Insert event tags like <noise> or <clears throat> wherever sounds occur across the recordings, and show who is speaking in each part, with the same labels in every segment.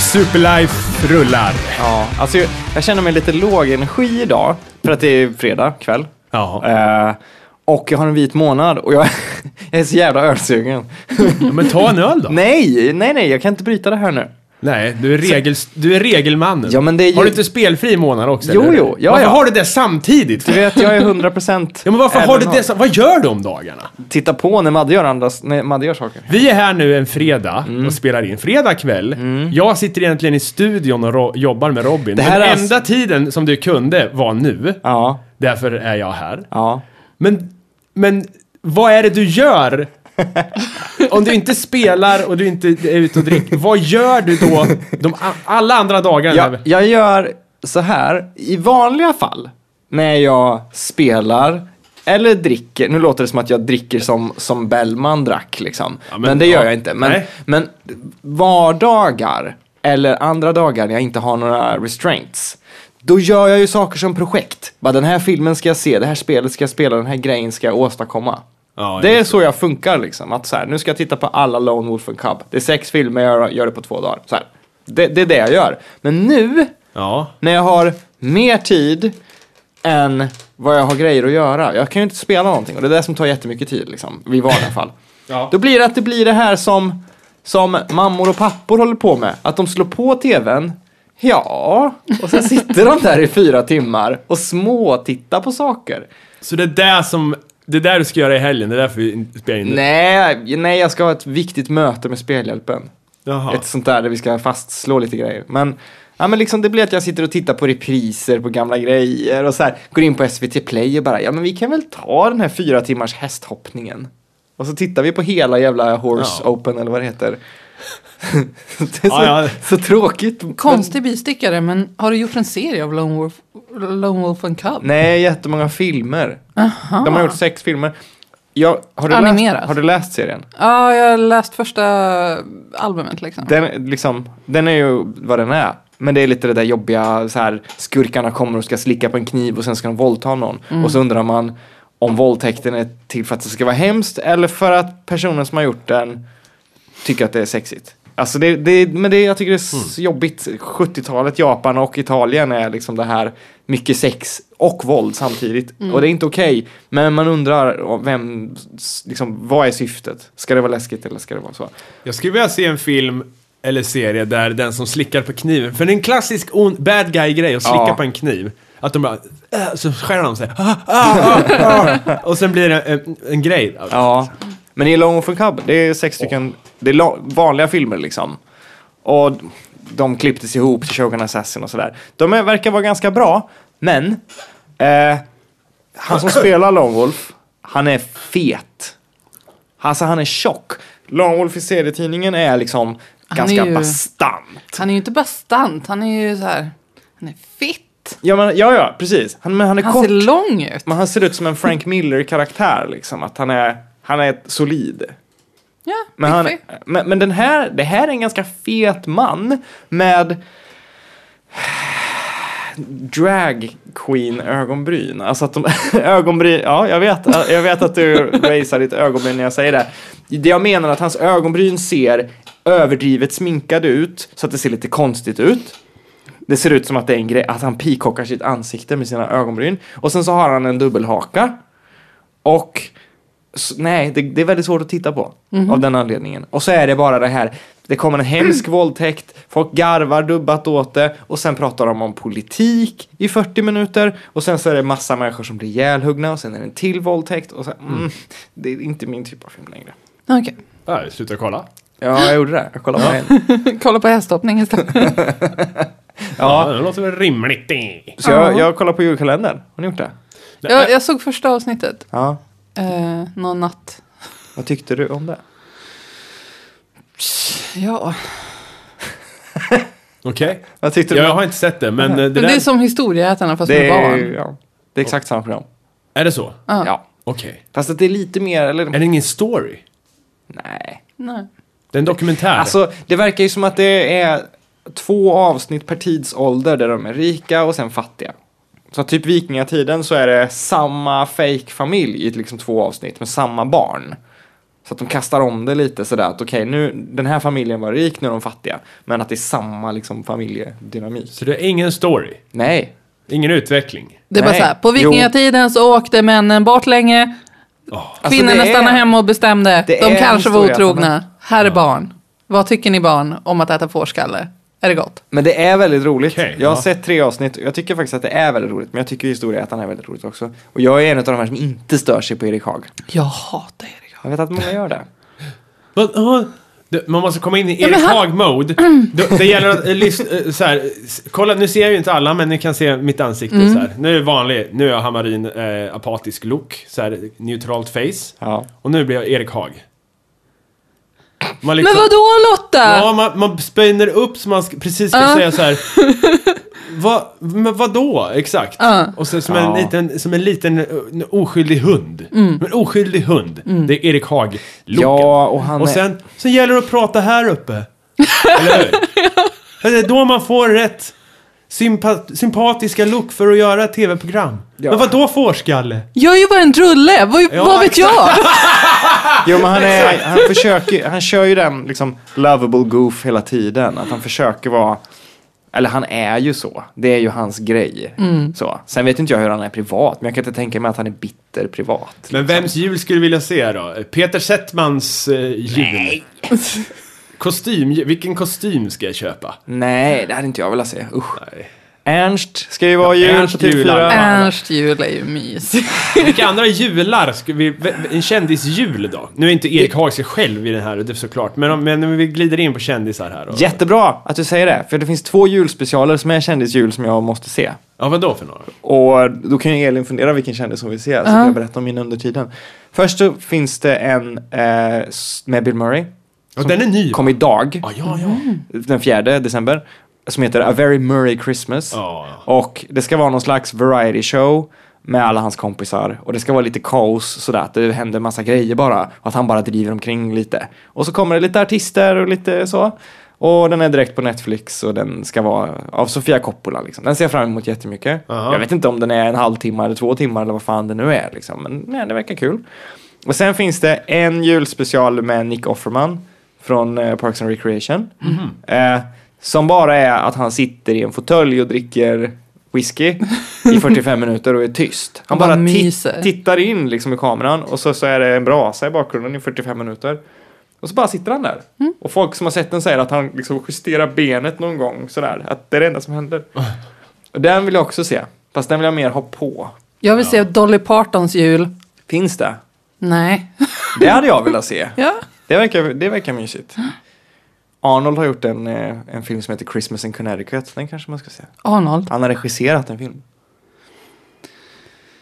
Speaker 1: Superlife rullar.
Speaker 2: Ja, alltså jag, jag känner mig lite låg i energi idag, för att det är fredag kväll.
Speaker 1: Ja.
Speaker 2: Eh, och jag har en vit månad och jag, <laughs> jag är så jävla ölsugen.
Speaker 1: Äh, Men ta en öl då. Nej,
Speaker 2: nej, nej, nej, jag kan inte bryta det här nu.
Speaker 1: du, är regel, du är regelmannen.
Speaker 2: Ja, men det är ju-
Speaker 1: Har du inte spelfri månad också?
Speaker 2: Jo,
Speaker 1: eller?
Speaker 2: jo, ja,
Speaker 1: varför
Speaker 2: ja.
Speaker 1: har du det samtidigt?
Speaker 2: Du vet, jag är 100 procent.
Speaker 1: Ja, men varför har du det sam- Vad gör du om dagarna?
Speaker 2: Titta på när Madde gör, andras, när Madde gör saker.
Speaker 1: Vi är här nu en fredag
Speaker 2: Mm.
Speaker 1: och spelar in. Fredag kväll. Jag sitter egentligen i studion och ro- jobbar med Robin.
Speaker 2: Det här
Speaker 1: men
Speaker 2: är alltså-
Speaker 1: enda tiden som du kunde var nu.
Speaker 2: Ja,
Speaker 1: Därför är jag här.
Speaker 2: ja.
Speaker 1: Men, men vad är det du <laughs> gör? Om du inte spelar och du inte är ute och dricker, vad gör du då de, a- alla andra dagar?
Speaker 2: Jag, jag gör så här, i vanliga fall, när jag spelar eller dricker, nu låter det som att jag dricker som, som Bellman drack liksom.
Speaker 1: Ja, men-
Speaker 2: men, det gör
Speaker 1: ja.
Speaker 2: jag inte. Men,
Speaker 1: Nej.
Speaker 2: men vardagar eller andra dagar när jag inte har några restraints, då gör jag ju saker som projekt. Bara, den här filmen ska jag se, det här spelet ska jag spela, den här grejen ska jag åstadkomma.
Speaker 1: Ja,
Speaker 2: det är så jag funkar liksom. Att så här, nu ska jag titta på alla Lone Wolf and Cub. Det är sex filmer, jag gör det på två dagar. Så här. Det, det är det jag gör. Men nu,
Speaker 1: Ja.
Speaker 2: när jag har mer tid än vad jag har grejer att göra. Jag kan ju inte spela någonting och det är det som tar jättemycket tid liksom, vid varje fall.
Speaker 1: Ja.
Speaker 2: Då blir det att det blir det här som, som mammor och pappor håller på med. Att de slår på tvn, ja, och sen sitter de där i fyra timmar och småtittar på saker.
Speaker 1: Så det är där som, det är där du ska göra i helgen, det är därför vi inte spelar in nu.
Speaker 2: Nej, nej, jag ska ha ett viktigt möte med Spelhjälpen.
Speaker 1: Jaha.
Speaker 2: Ett sånt där där vi ska fastslå lite grejer. Men, ja, men liksom det blir att jag sitter och tittar på repriser på gamla grejer och så här, går in på SVT Play och bara, ja men vi kan väl ta den här fyra timmars hästhoppningen. Och så tittar vi på hela jävla Horse
Speaker 1: Ja.
Speaker 2: Open eller vad det heter. <laughs> det är så,
Speaker 1: Ja, ja.
Speaker 2: så tråkigt. men-
Speaker 3: Konstig bistickare, men har du gjort en serie av Lone Wolf, Lone Wolf and Cub?
Speaker 2: Nej, jättemånga filmer. De har gjort sex filmer. Jag, har, du läst,
Speaker 3: Animerat.
Speaker 2: har du läst serien?
Speaker 3: Ja, jag har läst första albumet liksom.
Speaker 2: Den, liksom, den är ju vad den är. Men det är lite det där jobbiga, så här, skurkarna kommer och ska slicka på en kniv och sen ska de våldta någon. Och så undrar man om våldtäkten är till för att det ska vara hemskt eller för att personen som har gjort den tycker att det är sexigt. Alltså det, det, men det, jag tycker det är s- jobbigt. 70-talet, Japan och Italien är liksom det här mycket sex och våld samtidigt. Och det är inte okej. Men man undrar vem, s- liksom, vad är syftet? Ska det vara läskigt eller ska det vara så?
Speaker 1: Jag skulle vilja se en film eller serie där den som slickar på kniven, för det är en klassisk on, bad guy-grej att slicka
Speaker 2: Ja.
Speaker 1: på en kniv. Att de bara, äh, så skär de sig. Ah, ah, ah, ah. Och sen blir det en, en grej.
Speaker 2: Ja, men i Long for Cub, det är sex stycken, det är la- vanliga filmer liksom. Och de klipptes ihop till Shogun Assassin och sådär. De är, verkar vara ganska bra, men eh, han som spelar Longwolf, han är fet. Alltså han är tjock. Longwolf i serietidningen är liksom
Speaker 3: Han är
Speaker 2: ganska
Speaker 3: ju-
Speaker 2: bastant.
Speaker 3: Han är ju inte bastant, han är ju så här, han är fitt.
Speaker 2: Ja, men, ja, ja, precis. Han, men han är
Speaker 3: Han
Speaker 2: kort.
Speaker 3: ser lång ut.
Speaker 2: Men han ser ut som en Frank Miller-karaktär liksom. Att han är, han är solid.
Speaker 3: Ja,
Speaker 2: Men, han,
Speaker 3: fiffig.
Speaker 2: men, men den här, det här är en ganska fet man med drag queen ögonbryn. Alltså att de, <laughs> ögonbryn, ja jag vet, jag vet att du raisar ditt ögonbryn när jag säger det. Det jag menar är att hans ögonbryn ser överdrivet sminkade ut så att det ser lite konstigt ut. Det ser ut som att det är en grej, att han peacockar sitt ansikte med sina ögonbryn. Och sen så har han en dubbelhaka. Och s- nej, det, det är väldigt svårt att titta på av den anledningen. Och så är det bara det här, det kommer en <clears throat> hemsk våldtäkt, folk garvar dubbat åt det och sen pratar de om politik i 40 minuter och sen så är det massa människor som blir ihjälhuggna och sen är det en till våldtäkt och sen, mm, det är inte min typ av film längre.
Speaker 3: Okej, <laughs>
Speaker 1: Ja, Äh, sluta kolla.
Speaker 2: Ja, jag gjorde det. Jag kollade på <laughs> en.
Speaker 3: kolla på hästhoppning
Speaker 2: <laughs>
Speaker 3: istället.
Speaker 1: Ja,
Speaker 2: Ja,
Speaker 1: det låter väl rimligt.
Speaker 2: så jag, jag kollade på julkalendern. Har ni gjort det?
Speaker 3: Jag, jag såg första avsnittet,
Speaker 2: Ja.
Speaker 3: eh, någon natt.
Speaker 2: Vad tyckte du om det?
Speaker 3: Ja,
Speaker 1: Okej.
Speaker 2: Vad tyckte du?
Speaker 1: Jag har inte sett det, men eh, det,
Speaker 3: men
Speaker 1: där,
Speaker 3: det
Speaker 1: är,
Speaker 3: är som historieätarna fast
Speaker 2: det,
Speaker 3: med
Speaker 2: är,
Speaker 3: barn.
Speaker 2: ja, det är exakt samma program.
Speaker 1: är det så?
Speaker 3: Ja.
Speaker 2: Ja.
Speaker 1: Okej.
Speaker 2: Fast att det är lite mer, eller?
Speaker 1: Är det ingen story?
Speaker 2: Nej.
Speaker 3: Nej.
Speaker 1: Det är en dokumentär.
Speaker 2: Alltså, det verkar ju som att det är två avsnitt per tidsålder där de är rika och sen fattiga. Så typ vikingatiden så är det samma fake familj i liksom två avsnitt med samma barn. Så Så att de kastar om det lite sådär att okej, nu den här familjen var rik, nu är de fattiga. Men att det är samma liksom familjedynamik.
Speaker 1: Så det är ingen story,
Speaker 2: Nej,
Speaker 1: ingen utveckling.
Speaker 3: Det är bara
Speaker 2: Nej.
Speaker 3: så här, på
Speaker 2: Jo.
Speaker 3: vikingatiden så åkte männen bort länge.
Speaker 2: Alltså,
Speaker 3: Kvinnorna
Speaker 2: det är-
Speaker 3: stannade hemma och bestämde.
Speaker 2: det är
Speaker 3: De
Speaker 2: en
Speaker 3: kanske var
Speaker 2: stor jävla
Speaker 3: otrogna. Här är barn. Vad tycker ni barn om att äta fårskalle? Är det gott?
Speaker 2: men det är väldigt roligt.
Speaker 1: Okej,
Speaker 2: jag har
Speaker 1: ja.
Speaker 2: sett tre avsnitt och jag tycker faktiskt att det är väldigt roligt. Men jag tycker historieätarna är väldigt roligt också. Och jag är en av de här som inte stör sig på Erik Haag.
Speaker 3: Jag hatar Erik.
Speaker 2: Jag vet att många
Speaker 1: <laughs>
Speaker 2: gör det.
Speaker 1: Vad- ja, det- Man måste komma in i
Speaker 3: Ja, men
Speaker 1: Erik
Speaker 3: han- <clears throat>
Speaker 1: Haag-mode. Det, det gäller att eh, lys- eh, så här, s- kolla, nu ser ju inte alla men ni kan se mitt ansikte
Speaker 3: Mm.
Speaker 1: så här. Nu är det vanlig, nu är jag Hammarin eh, apatisk look, så här neutralt face.
Speaker 2: Ja.
Speaker 1: Och nu blir jag Erik Haag. Man
Speaker 3: Men
Speaker 1: liksom-
Speaker 3: vadå Lotta?
Speaker 1: Ja, man, man spänner upp så man ska, precis ska
Speaker 3: Ja.
Speaker 1: säga så
Speaker 3: <laughs>
Speaker 1: här. Va, men vadå? Exakt.
Speaker 3: Ja.
Speaker 1: Och så, som,
Speaker 2: Ja.
Speaker 1: en liten, som en liten eh, en oskyldig hund.
Speaker 3: Mm.
Speaker 1: En oskyldig hund. Det är Erik haag
Speaker 2: Ja, och han
Speaker 1: Och
Speaker 2: är-
Speaker 1: sen, sen gäller det att prata här
Speaker 3: <laughs>
Speaker 1: uppe. Eller hur? Det är då man får rätt sympa- sympatiska look för att göra ett tv-program.
Speaker 2: Ja.
Speaker 1: Men vadå fårskalle?
Speaker 3: Jag är ju bara en drulle. Vad,
Speaker 1: Ja,
Speaker 3: vad vet jag?
Speaker 2: Jo, men han, är, han, försöker, ju- han kör ju den liksom lovable goof hela tiden. Att han försöker vara... Eller han är ju så. Det är ju hans grej. Så. Sen vet inte jag hur han är privat, men jag kan inte tänka mig att han är bitter privat.
Speaker 1: Men vems jul skulle du vilja se då? Peter Settmans eh, jul? Kostym, vilken kostym ska jag köpa?
Speaker 2: Nej, det hade inte jag velat se. Usch.
Speaker 1: Nej.
Speaker 2: Ernst ska ju vara
Speaker 1: Ja,
Speaker 2: jul
Speaker 1: Ernst
Speaker 2: på
Speaker 1: jular.
Speaker 2: TV4.
Speaker 1: Ja.
Speaker 3: <laughs> Ernst jul är ju mysig.
Speaker 1: Vilka andra jular? Ska vi, en kändisjul då? Nu är inte Erik Haag sig själv i den här, det är såklart. Men, om- men om vi glider in på kändisar här. Och,
Speaker 2: Jättebra att du säger det, för det finns två julspecialer som är kändisjul som jag måste se.
Speaker 1: Ja, vadå för några?
Speaker 2: Och då kan ju Elin fundera vilken kändis hon vill se, så kan jag berätta om min under tiden. Först så finns det en eh, s- med Bill Murray,
Speaker 1: Ja, Mm. den är ny.
Speaker 2: kom idag, Mm.
Speaker 1: Ja, ja, ja.
Speaker 2: den 4 december, som heter A Very Murray Christmas.
Speaker 1: ja.
Speaker 2: Och det ska vara någon slags variety show med alla hans kompisar. Och det ska vara lite kaos sådär, att det händer massa grejer bara. Och att han bara driver omkring lite. Och så kommer det lite artister och lite så. Och den är direkt på Netflix och den ska vara av Sofia Coppola liksom. Den ser jag fram emot jättemycket.
Speaker 1: Aha.
Speaker 2: Jag vet inte om den är en halvtimme eller två timmar eller vad fan det nu är liksom. Men nej, det verkar kul. Och sen finns det en julspecial med Nick Offerman från eh, Parks and Recreation. Eh, som bara är att han sitter i en fåtölj och dricker whisky i 45 minuter och är tyst. Han
Speaker 3: Vad
Speaker 2: bara ti-
Speaker 3: myser.
Speaker 2: tittar in liksom i kameran och så, så är det en brasa i bakgrunden i 45 minuter. Och så bara sitter han där. Och folk som har sett den säger att han liksom justerar benet någon gång sådär. Att det är det enda som händer. Och den vill jag också se. Fast den vill jag mer ha på.
Speaker 3: Jag vill se Dolly Partons jul.
Speaker 2: Finns det?
Speaker 3: Nej.
Speaker 2: Det hade jag velat se.
Speaker 3: Ja.
Speaker 2: Det verkar, det verkar mysigt. Arnold har gjort en, eh, en film som heter Christmas in Connecticut. Den kanske man ska se.
Speaker 3: Arnold.
Speaker 2: Han har regisserat en film.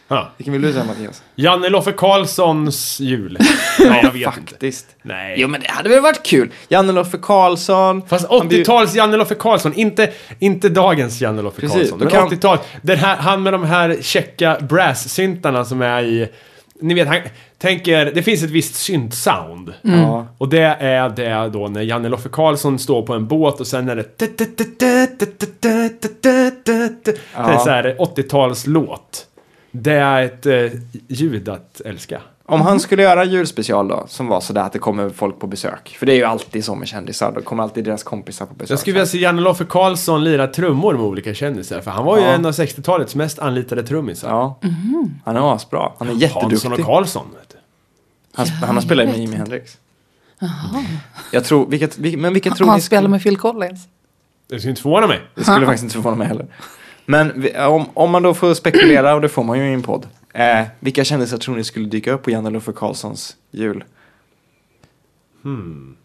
Speaker 1: ja.
Speaker 2: Vilken vill du säga Mattias?
Speaker 1: Janne Loffe Karlssons <laughs> jul. Nej, jag vet inte.
Speaker 2: Faktiskt.
Speaker 1: Nej.
Speaker 2: Jo men det hade väl varit kul. Janne Loffe Karlsson.
Speaker 1: Fast
Speaker 2: Han blir-
Speaker 1: 80-tals Janne Loffe Karlsson, inte, inte dagens Janne Loffe
Speaker 2: Precis,
Speaker 1: Karlsson.
Speaker 2: då
Speaker 1: Men
Speaker 2: kan-
Speaker 1: 80-tal, den här, han med de här checka brass-syntarna som är i... Ni vet, han tänker, det finns ett visst synt-sound.
Speaker 2: Mm. Ja.
Speaker 1: Och det är det då när Janne Loffe Karlsson står på en båt och sen är det... Det är
Speaker 2: Ja.
Speaker 1: så här 80-talslåt. Det är ett eh, ljud att älska.
Speaker 2: Om han skulle göra en julspecial då, som var sådär att det kommer folk på besök. För det är ju alltid så med kändisar, då kommer alltid deras kompisar på besök.
Speaker 1: Jag skulle alltså vilja se Janne Loffe Karlsson lira trummor med olika kändisar, för han var ju
Speaker 2: Ja.
Speaker 1: en av 60-talets mest anlitade trummisar.
Speaker 2: Ja. Han är asbra. Han är
Speaker 1: Hansson och
Speaker 2: jätteduktig.
Speaker 1: Karlsson. Vet du.
Speaker 2: Han, han har spelat med Jimi Hendrix. Jag tror, vilket, vilket, men vilka tror
Speaker 3: Han
Speaker 2: ni
Speaker 3: spelar
Speaker 2: skulle,
Speaker 3: med Phil Collins.
Speaker 1: Det skulle inte förvåna mig.
Speaker 2: Det skulle faktiskt inte förvåna mig heller. Men vi- om, om man då får spekulera, och det får man ju i en podd. Eh, vilka kändisar tror ni skulle dyka upp på Janne Loffe Karlssons jul?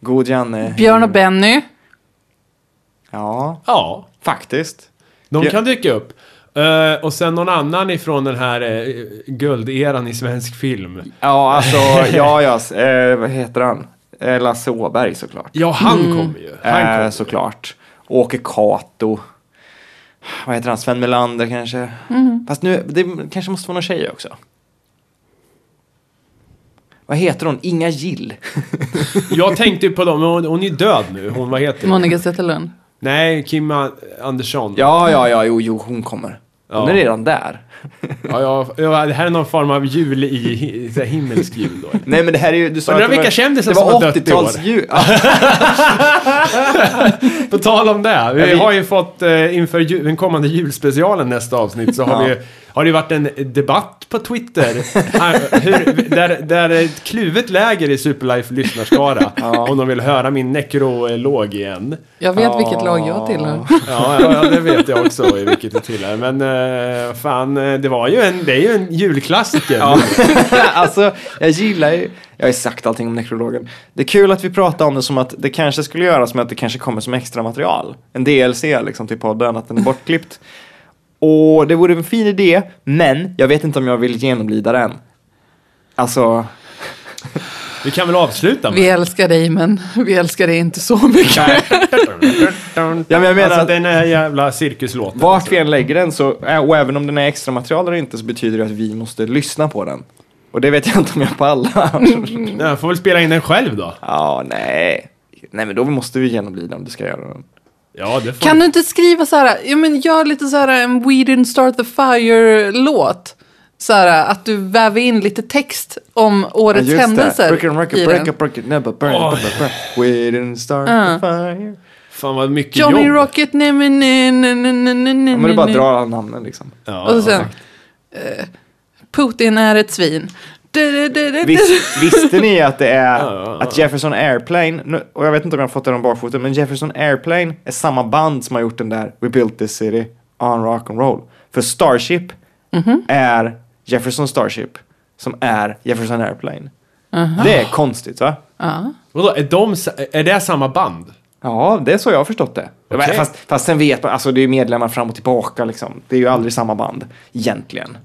Speaker 2: God Janne.
Speaker 3: Björn och Benny.
Speaker 2: Ja,
Speaker 1: Ja,
Speaker 2: faktiskt.
Speaker 1: de
Speaker 2: Ja.
Speaker 1: kan dyka upp. Eh, och sen någon annan ifrån den här uh, gulderan i svensk film.
Speaker 2: Ja, <laughs> alltså, ja, ja, s- eh, vad heter han? Eh, Lasse Åberg såklart.
Speaker 1: Ja, han
Speaker 2: Mm.
Speaker 1: kommer ju. Han kommer.
Speaker 2: Eh, såklart. Åke Kato. Vad heter han? Sven Melander kanske? Fast nu, det kanske måste vara någon tjej också. Vad heter hon? Inga Gill.
Speaker 1: Jag tänkte ju på dem, men hon, hon är ju död nu. Hon, vad heter hon?
Speaker 3: Monica Zetterlund.
Speaker 1: Nej, Kim A- Andersson.
Speaker 2: Ja, ja, ja, jo, jo, hon kommer.
Speaker 1: Ja.
Speaker 2: Hon är redan där.
Speaker 1: Ja, ja, ja, det här är någon form av jul i, i så här himmelsk jul då.
Speaker 2: Nej men det här är ju, du sa
Speaker 1: Undrar
Speaker 2: att det var-
Speaker 1: vilka kändisar
Speaker 2: det
Speaker 1: som har
Speaker 2: var
Speaker 1: dött i år.
Speaker 2: 80-talsjul.
Speaker 1: På tal om det, vi
Speaker 2: Ja, vi-
Speaker 1: har ju fått eh, inför ju, den kommande julspecialen nästa avsnitt så har,
Speaker 2: Ja.
Speaker 1: vi, har det ju varit en debatt på Twitter. <laughs> eh, hur, där, där är ett kluvet läger i Superlife <laughs> lyssnarskara. Om de vill höra min nekrolog igen.
Speaker 3: Jag vet vilket lag jag tillhör.
Speaker 1: Ja, ja, ja, det vet jag också i vilket det tillhör. Men eh, fan, eh, det var ju en, det är ju en julklassiker.
Speaker 2: Ja. <laughs> alltså, jag gillar ju, jag har ju sagt allting om nekrologen. Det är kul att vi pratar om det som att det kanske skulle göras med att det kanske kommer som extra material. En DLC liksom till podden, att den är bortklippt. Och det vore en fin idé, men jag vet inte om jag vill genomlida den. Alltså,
Speaker 1: Vi kan väl avsluta <laughs> med
Speaker 3: Vi älskar dig, men vi älskar dig inte så mycket.
Speaker 2: Ja, men jag menar-
Speaker 1: alltså, den här jävla cirkuslåten.
Speaker 2: vart vi än lägger den så, äh, och även om den är extra material eller inte så betyder det att vi måste lyssna på den. Och det vet jag inte om jag pallar. <laughs>
Speaker 1: Ja, Jag får väl spela in den själv då.
Speaker 2: Ja, nej. Nej, men då måste vi genomlida om du ska göra den.
Speaker 1: Ja, det får
Speaker 3: Kan du inte skriva så här, ja men gör lite så här en We Didn't Start The Fire-låt. Så här att du väver in lite text om årets
Speaker 2: Ja, just det.
Speaker 3: händelser
Speaker 2: Break it, break
Speaker 3: i
Speaker 2: it, break
Speaker 3: den.
Speaker 2: it, break it, never burn it,
Speaker 1: Oj.
Speaker 2: never burn it. We didn't start
Speaker 3: Ja.
Speaker 2: the fire.
Speaker 1: Fan vad mycket
Speaker 3: Johnny
Speaker 1: jobb.
Speaker 3: Rocket, nej men nej nej nej nej nej nej
Speaker 2: Ja, men du bara drar alla namnen liksom.
Speaker 1: Ja,
Speaker 3: Och så sen,
Speaker 1: ja.
Speaker 3: eh, Putin är ett svin. Du, du, du, du, du.
Speaker 2: Vis, visste ni att det är
Speaker 1: Ja, ja, ja.
Speaker 2: att Jefferson Airplane, nu- och jag vet inte om jag har fått det om barfoten, men Jefferson Airplane är samma band som har gjort den där We built this city on rock and roll. För Starship Mhm. är Jefferson Starship som är Jefferson Airplane. Det är konstigt va?
Speaker 3: Ja.
Speaker 1: Vadå, är, de, s- är det samma band?
Speaker 2: Ja, det är så jag har förstått det.
Speaker 1: Okej.
Speaker 2: Fast, fast sen vet man, alltså det är ju medlemmar fram och tillbaka liksom. Det är ju aldrig samma band egentligen.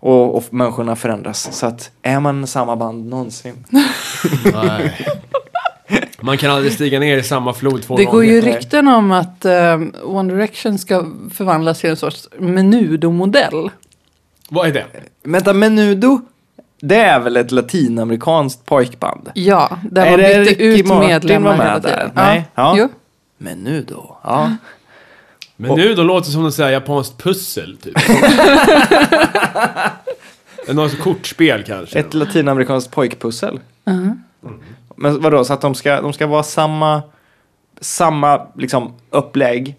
Speaker 2: Och, och människorna förändras. Så att är man samma band någonsin?
Speaker 1: Nej. Man kan aldrig stiga ner i samma flod två
Speaker 3: Det går ju
Speaker 1: gånger.
Speaker 2: Nej.
Speaker 3: rykten om att eh, One Direction ska förvandlas till en sorts Menudo-modell.
Speaker 1: Vad är det?
Speaker 2: Vänta, Menudo? Det är väl ett latinamerikanskt pojkband?
Speaker 3: Ja, där
Speaker 2: Är
Speaker 3: man
Speaker 2: det
Speaker 3: bytte
Speaker 2: Ricky
Speaker 3: ut
Speaker 2: Martin
Speaker 3: medlemmar
Speaker 2: var med
Speaker 3: hela
Speaker 2: där?
Speaker 3: tiden.
Speaker 2: Nej, ja.
Speaker 3: Ja. Jo.
Speaker 2: Menudo? Ja.
Speaker 1: Men nu då låter det som något så här japanskt pussel, <laughs> typ. Något sorts kortspel kanske.
Speaker 2: Ett latinamerikanskt pojkpussel? Men vadå, så att de ska, de ska vara samma, samma liksom upplägg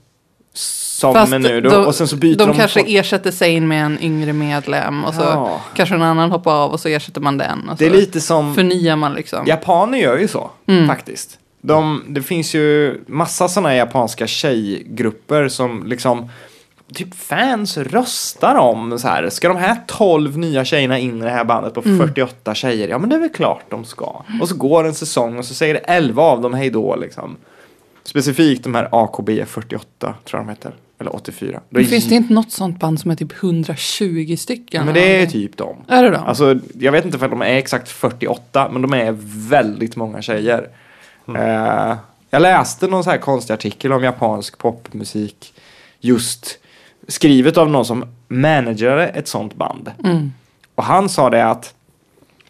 Speaker 2: som
Speaker 3: Fast
Speaker 2: Menudo?
Speaker 3: de,
Speaker 2: och sen så byter de...
Speaker 3: de kanske
Speaker 2: folk.
Speaker 3: ersätter sig med en yngre medlem och så
Speaker 2: Ja.
Speaker 3: kanske en annan hoppar av och så ersätter man den. Och
Speaker 2: Det är
Speaker 3: så
Speaker 2: lite som...
Speaker 3: förnyar man liksom. Mm.
Speaker 2: Japaner gör ju så, faktiskt. De, det finns ju massa sådana japanska tjejgrupper som liksom typ fans röstar om så här. Ska de här 12 nya tjejerna in i det här bandet på
Speaker 3: Mm.
Speaker 2: 48 tjejer? Ja men det är väl klart de ska. Och så går en säsong och så säger 11 av dem hej då liksom. Specifikt de här AKB 48 tror jag de heter. Eller 84. Då är-
Speaker 3: Finns det inte något sånt band som är typ 120 stycken?
Speaker 2: Men det är typ dem.
Speaker 3: Är det då?
Speaker 2: Alltså, jag vet inte för de är exakt 48, men de är väldigt många tjejer. Eh, jag läste någon så här konstig artikel om japansk popmusik. Just skrivet av någon som managerade ett sånt band.
Speaker 3: Mm.
Speaker 2: Och han sa det att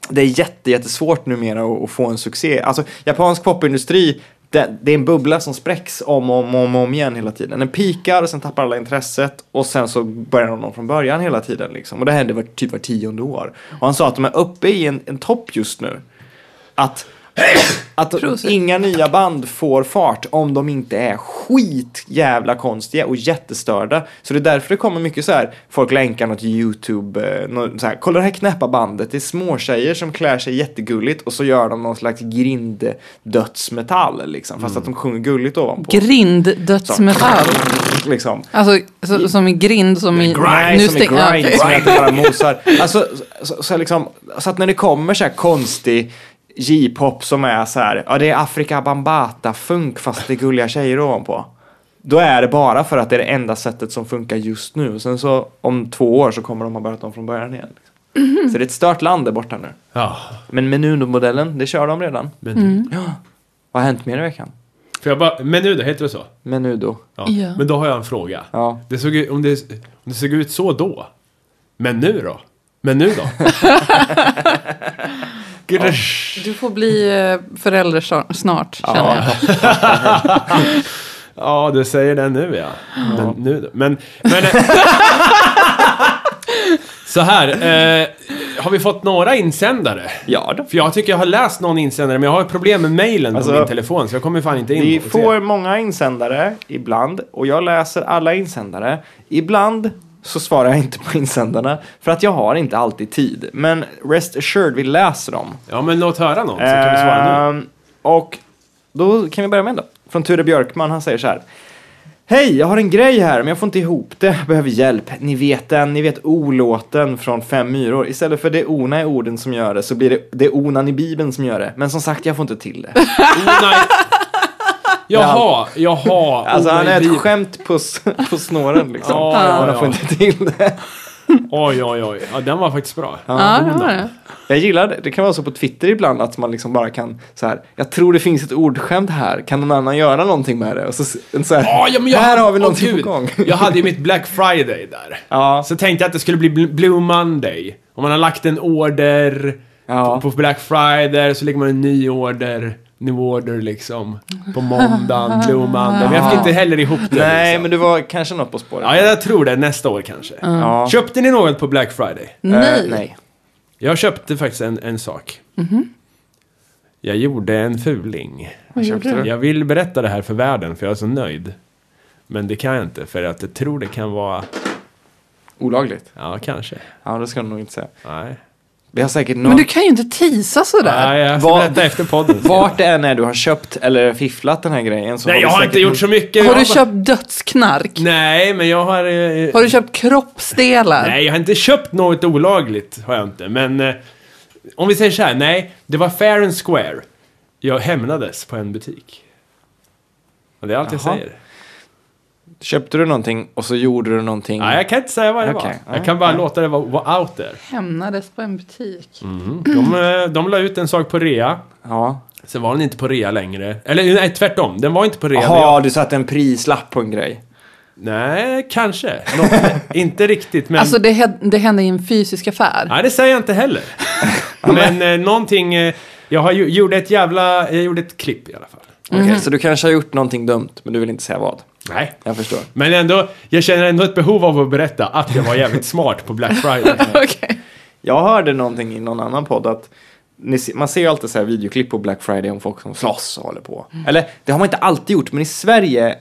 Speaker 2: det är jätte, jättesvårt numera att, att få en succé. Alltså japansk popindustri, det, det är en bubbla som spräcks om och om, om, om igen hela tiden. Den pikar, sen tappar alla intresset och sen så börjar de om från början hela tiden. Liksom. Och det händer var, typ var tionde år. Och han sa att de är uppe i en, en topp just nu. Att, att
Speaker 3: Prosit.
Speaker 2: inga nya band får fart om de inte är skit jävla konstiga och jättestörda. Så det är därför det kommer mycket så här, folk länkar något YouTube, eh, något så här, kolla det här knäppa bandet, det är små tjejer som klär sig jättegulligt och så gör de någon slags grinddödsmetall liksom, fast att de sjunger gulligt ovanpå.
Speaker 3: Grind-dödsmetall.
Speaker 2: liksom.
Speaker 3: Alltså så, som i grind, som i...
Speaker 2: Grind som
Speaker 3: stäng-
Speaker 2: är
Speaker 3: ja,
Speaker 2: grind
Speaker 3: okej.
Speaker 2: som jag inte bara mosar. Alltså, så, så, så, liksom, så att när det kommer så här konstig J-pop som är så här, ja det är Afrika Bambata-funk fast det är gulliga tjejer ovanpå. Då är det bara för att det är det enda sättet som funkar just nu. Och sen så om två år så kommer de ha börjat om från början igen. Liksom. Så det är ett stört land där borta nu.
Speaker 1: Ja,
Speaker 2: Men Menudo-modellen, det kör de redan.
Speaker 1: men,
Speaker 2: Vad har hänt mer i veckan?
Speaker 1: Får jag bara, men nu då, heter det så?
Speaker 2: Menudo.
Speaker 1: Ja.
Speaker 3: Ja.
Speaker 1: Men då har jag en fråga.
Speaker 2: Ja.
Speaker 1: Det såg, ut- om, det, om det såg ut så då, men nu då? Men nu <laughs> då?
Speaker 3: Du får bli eh, förälder sa- snart, känner
Speaker 2: Ja.
Speaker 3: jag.
Speaker 1: Ja, du säger det nu ja. Men, nu, då. men, men eh, <laughs> så här, eh, har vi fått några insändare?
Speaker 2: Ja då.
Speaker 1: För jag tycker jag har läst någon insändare, men jag har ett problem med mejlen
Speaker 2: Alltså,
Speaker 1: på min telefon, så jag kommer fan inte in
Speaker 2: Vi
Speaker 1: och se.
Speaker 2: får många insändare ibland och jag läser alla insändare. Ibland så svarar jag inte på insändarna för att jag har inte alltid tid. Men rest assured, vi läser dem.
Speaker 1: Ja, men låt höra någon, så kan vi svara nu.
Speaker 2: Ehm, Och då kan vi börja med en då. Från Ture Björkman, han säger så här. Hej, jag har en grej här men jag får inte ihop det. Behöver hjälp. Ni vet den, ni vet O-låten från Fem myror. Istället för det ona i orden som gör det så blir det det onan i Bibeln som gör det. Men som sagt, jag får inte till det.
Speaker 1: Oh, nej. <laughs> Jaha, jaha.
Speaker 2: Alltså
Speaker 1: oh,
Speaker 2: han
Speaker 1: nej,
Speaker 2: är
Speaker 1: vi-
Speaker 2: ett skämt på, s- <laughs> på snåren liksom.
Speaker 1: Ja,
Speaker 2: Men
Speaker 1: ja,
Speaker 2: han får
Speaker 1: ja.
Speaker 2: inte till det.
Speaker 1: Oj, oj, oj. Ja, den var faktiskt bra.
Speaker 3: Ja, det var det.
Speaker 2: Jag gillar det. Det kan vara så på Twitter ibland att man liksom bara kan så här. Jag tror det finns ett ordskämt här. Kan någon annan göra någonting med det? Och så, s- en så här,
Speaker 1: Ja, ja, men jag,
Speaker 2: här har vi
Speaker 1: Åh,
Speaker 2: någonting
Speaker 1: gud.
Speaker 2: på gång. <laughs>
Speaker 1: Jag hade ju mitt Black Friday där.
Speaker 2: Ja.
Speaker 1: Så tänkte jag att det skulle bli Bl- Blue Monday. Om man har lagt en order
Speaker 2: Ja.
Speaker 1: på Black Friday så lägger man en ny order, new order liksom. På måndagen, Blue Monday. Men jag fick inte heller ihop det.
Speaker 2: Nej,
Speaker 1: liksom.
Speaker 2: men du var kanske något på spåret.
Speaker 1: Ja, jag tror det. Nästa år kanske.
Speaker 2: Ja.
Speaker 1: Köpte ni något på Black Friday?
Speaker 3: Nej.
Speaker 2: Eh, nej.
Speaker 1: Jag köpte faktiskt en, en sak.
Speaker 2: Mhm.
Speaker 1: Jag gjorde en fuling.
Speaker 3: Vad gjorde du?
Speaker 1: Jag vill berätta det här för världen för jag är så nöjd. Men det kan jag inte för att jag tror det kan vara...
Speaker 2: Olagligt.
Speaker 1: Ja, kanske.
Speaker 2: Ja, det ska du nog inte säga.
Speaker 1: Nej.
Speaker 2: Vi har säkert någon...
Speaker 3: Men du kan ju inte tisa sådär.
Speaker 1: Nej, jag ska
Speaker 2: Vad-
Speaker 1: berätta efter podden.
Speaker 2: Vart det än är du har köpt eller fifflat den här grejen så
Speaker 1: Nej,
Speaker 2: vi
Speaker 1: jag har
Speaker 2: säkert
Speaker 1: inte gjort så mycket.
Speaker 3: Har
Speaker 1: Jag
Speaker 3: du
Speaker 1: bara-
Speaker 3: köpt dödsknark?
Speaker 1: Nej, men jag har... eh,
Speaker 3: Har du köpt kroppsdelar?
Speaker 1: Nej, jag har inte köpt något olagligt. Har jag inte. Men eh, om vi säger så här. Nej, det var fair and square. Jag hämnades på en butik. Och det är allt jag
Speaker 2: Jaha.
Speaker 1: säger.
Speaker 2: Köpte du någonting och så gjorde du någonting.
Speaker 1: Nej, jag kan inte säga vad det
Speaker 2: Okej.
Speaker 1: var. Jag kan bara låta det vara vara out there.
Speaker 3: Hämnades på en butik.
Speaker 1: De, eh, de la ut en sak på rea.
Speaker 2: Ja.
Speaker 1: Sen var den inte på rea längre. Eller nej, tvärtom. Den var inte på rea. när jag-
Speaker 2: Jaha, du satte en prislapp på en grej.
Speaker 1: Nej, kanske.
Speaker 2: <laughs>
Speaker 1: Nå- inte riktigt, men...
Speaker 3: Alltså det, hed- det hände i en fysisk affär.
Speaker 1: Nej, det säger jag inte
Speaker 2: <laughs>
Speaker 1: heller. men eh, någonting... Eh, jag har ju, gjorde ett jävla... Jag gjorde ett klipp i alla fall.
Speaker 2: Okej, så du kanske har gjort någonting dumt, men du vill inte säga vad.
Speaker 1: Nej.
Speaker 2: Jag förstår.
Speaker 1: Men ändå, jag känner ändå ett behov av att berätta att jag var
Speaker 2: <laughs>
Speaker 1: jävligt smart på Black Friday.
Speaker 3: <laughs> Okej.
Speaker 2: Jag hörde någonting i någon annan podd att ni, se- man ser ju alltid så här videoklipp på Black Friday om folk som slåss och håller på.
Speaker 1: Mm.
Speaker 2: Eller det har man inte alltid gjort, men i Sverige,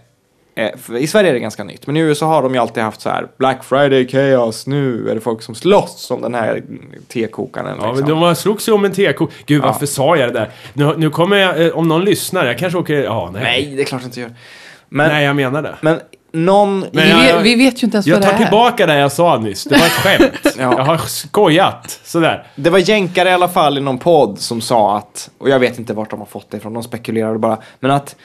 Speaker 2: eh, för- i Sverige är det ganska nytt. Men i USA har de ju alltid haft så här Black Friday chaos, nu är det folk som slåss om den här tekokaren.
Speaker 1: Ja, men
Speaker 2: liksom.
Speaker 1: de var, slogs ju om en teko. Gud, varför sa jag det där? Nu, nu kommer jag... Eh, om någon lyssnar, jag kanske åker... Ja, nej.
Speaker 2: Nej, det är klart de inte gör. Men,
Speaker 1: Nej, jag menar det.
Speaker 2: men någon...
Speaker 1: Men
Speaker 3: Vi,
Speaker 1: jag-
Speaker 3: vet- vi vet ju inte ens
Speaker 1: Jag
Speaker 3: vad det
Speaker 1: tar
Speaker 3: är.
Speaker 1: tillbaka det jag sa nyss. Det var ett skämt.
Speaker 2: <laughs> Ja.
Speaker 1: Jag har skojat. Sådär.
Speaker 2: Det var jänkare i alla fall i någon podd som sa att, och jag vet inte vart de har fått det ifrån, de spekulerade bara, men att,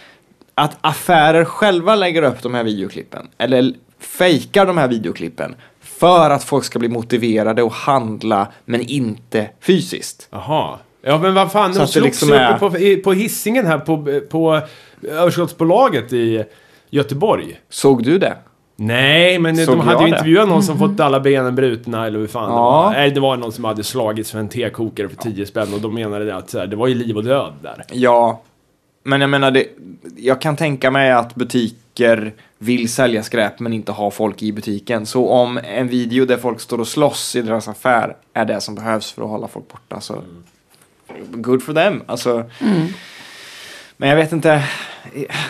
Speaker 2: att affärer själva lägger upp de här videoklippen, eller fejkar de här videoklippen, för att folk ska bli motiverade och handla, men inte fysiskt.
Speaker 1: Jaha. Ja men vad fan,
Speaker 2: Så
Speaker 1: de
Speaker 2: att det
Speaker 1: slogs
Speaker 2: liksom
Speaker 1: ju
Speaker 2: är-
Speaker 1: uppe på, i, på hissingen här på, på överskottsbolaget i Göteborg.
Speaker 2: Såg du det?
Speaker 1: Nej, men
Speaker 2: Såg
Speaker 1: de hade ju
Speaker 2: jag det?
Speaker 1: intervjuat någon som fått alla benen brutna eller hur fan det
Speaker 2: Ja.
Speaker 1: var. Nej, det var någon som hade slagits för en tekokare för 10 spänn och de menade det att så här, det var ju liv och död där.
Speaker 2: Ja, men jag menar, det, jag kan tänka mig att butiker vill sälja skräp men inte ha folk i butiken. Så om en video där folk står och slåss i deras affär är det som behövs för att hålla folk borta så good for them. Alltså,
Speaker 3: Mm.
Speaker 2: Men jag vet inte,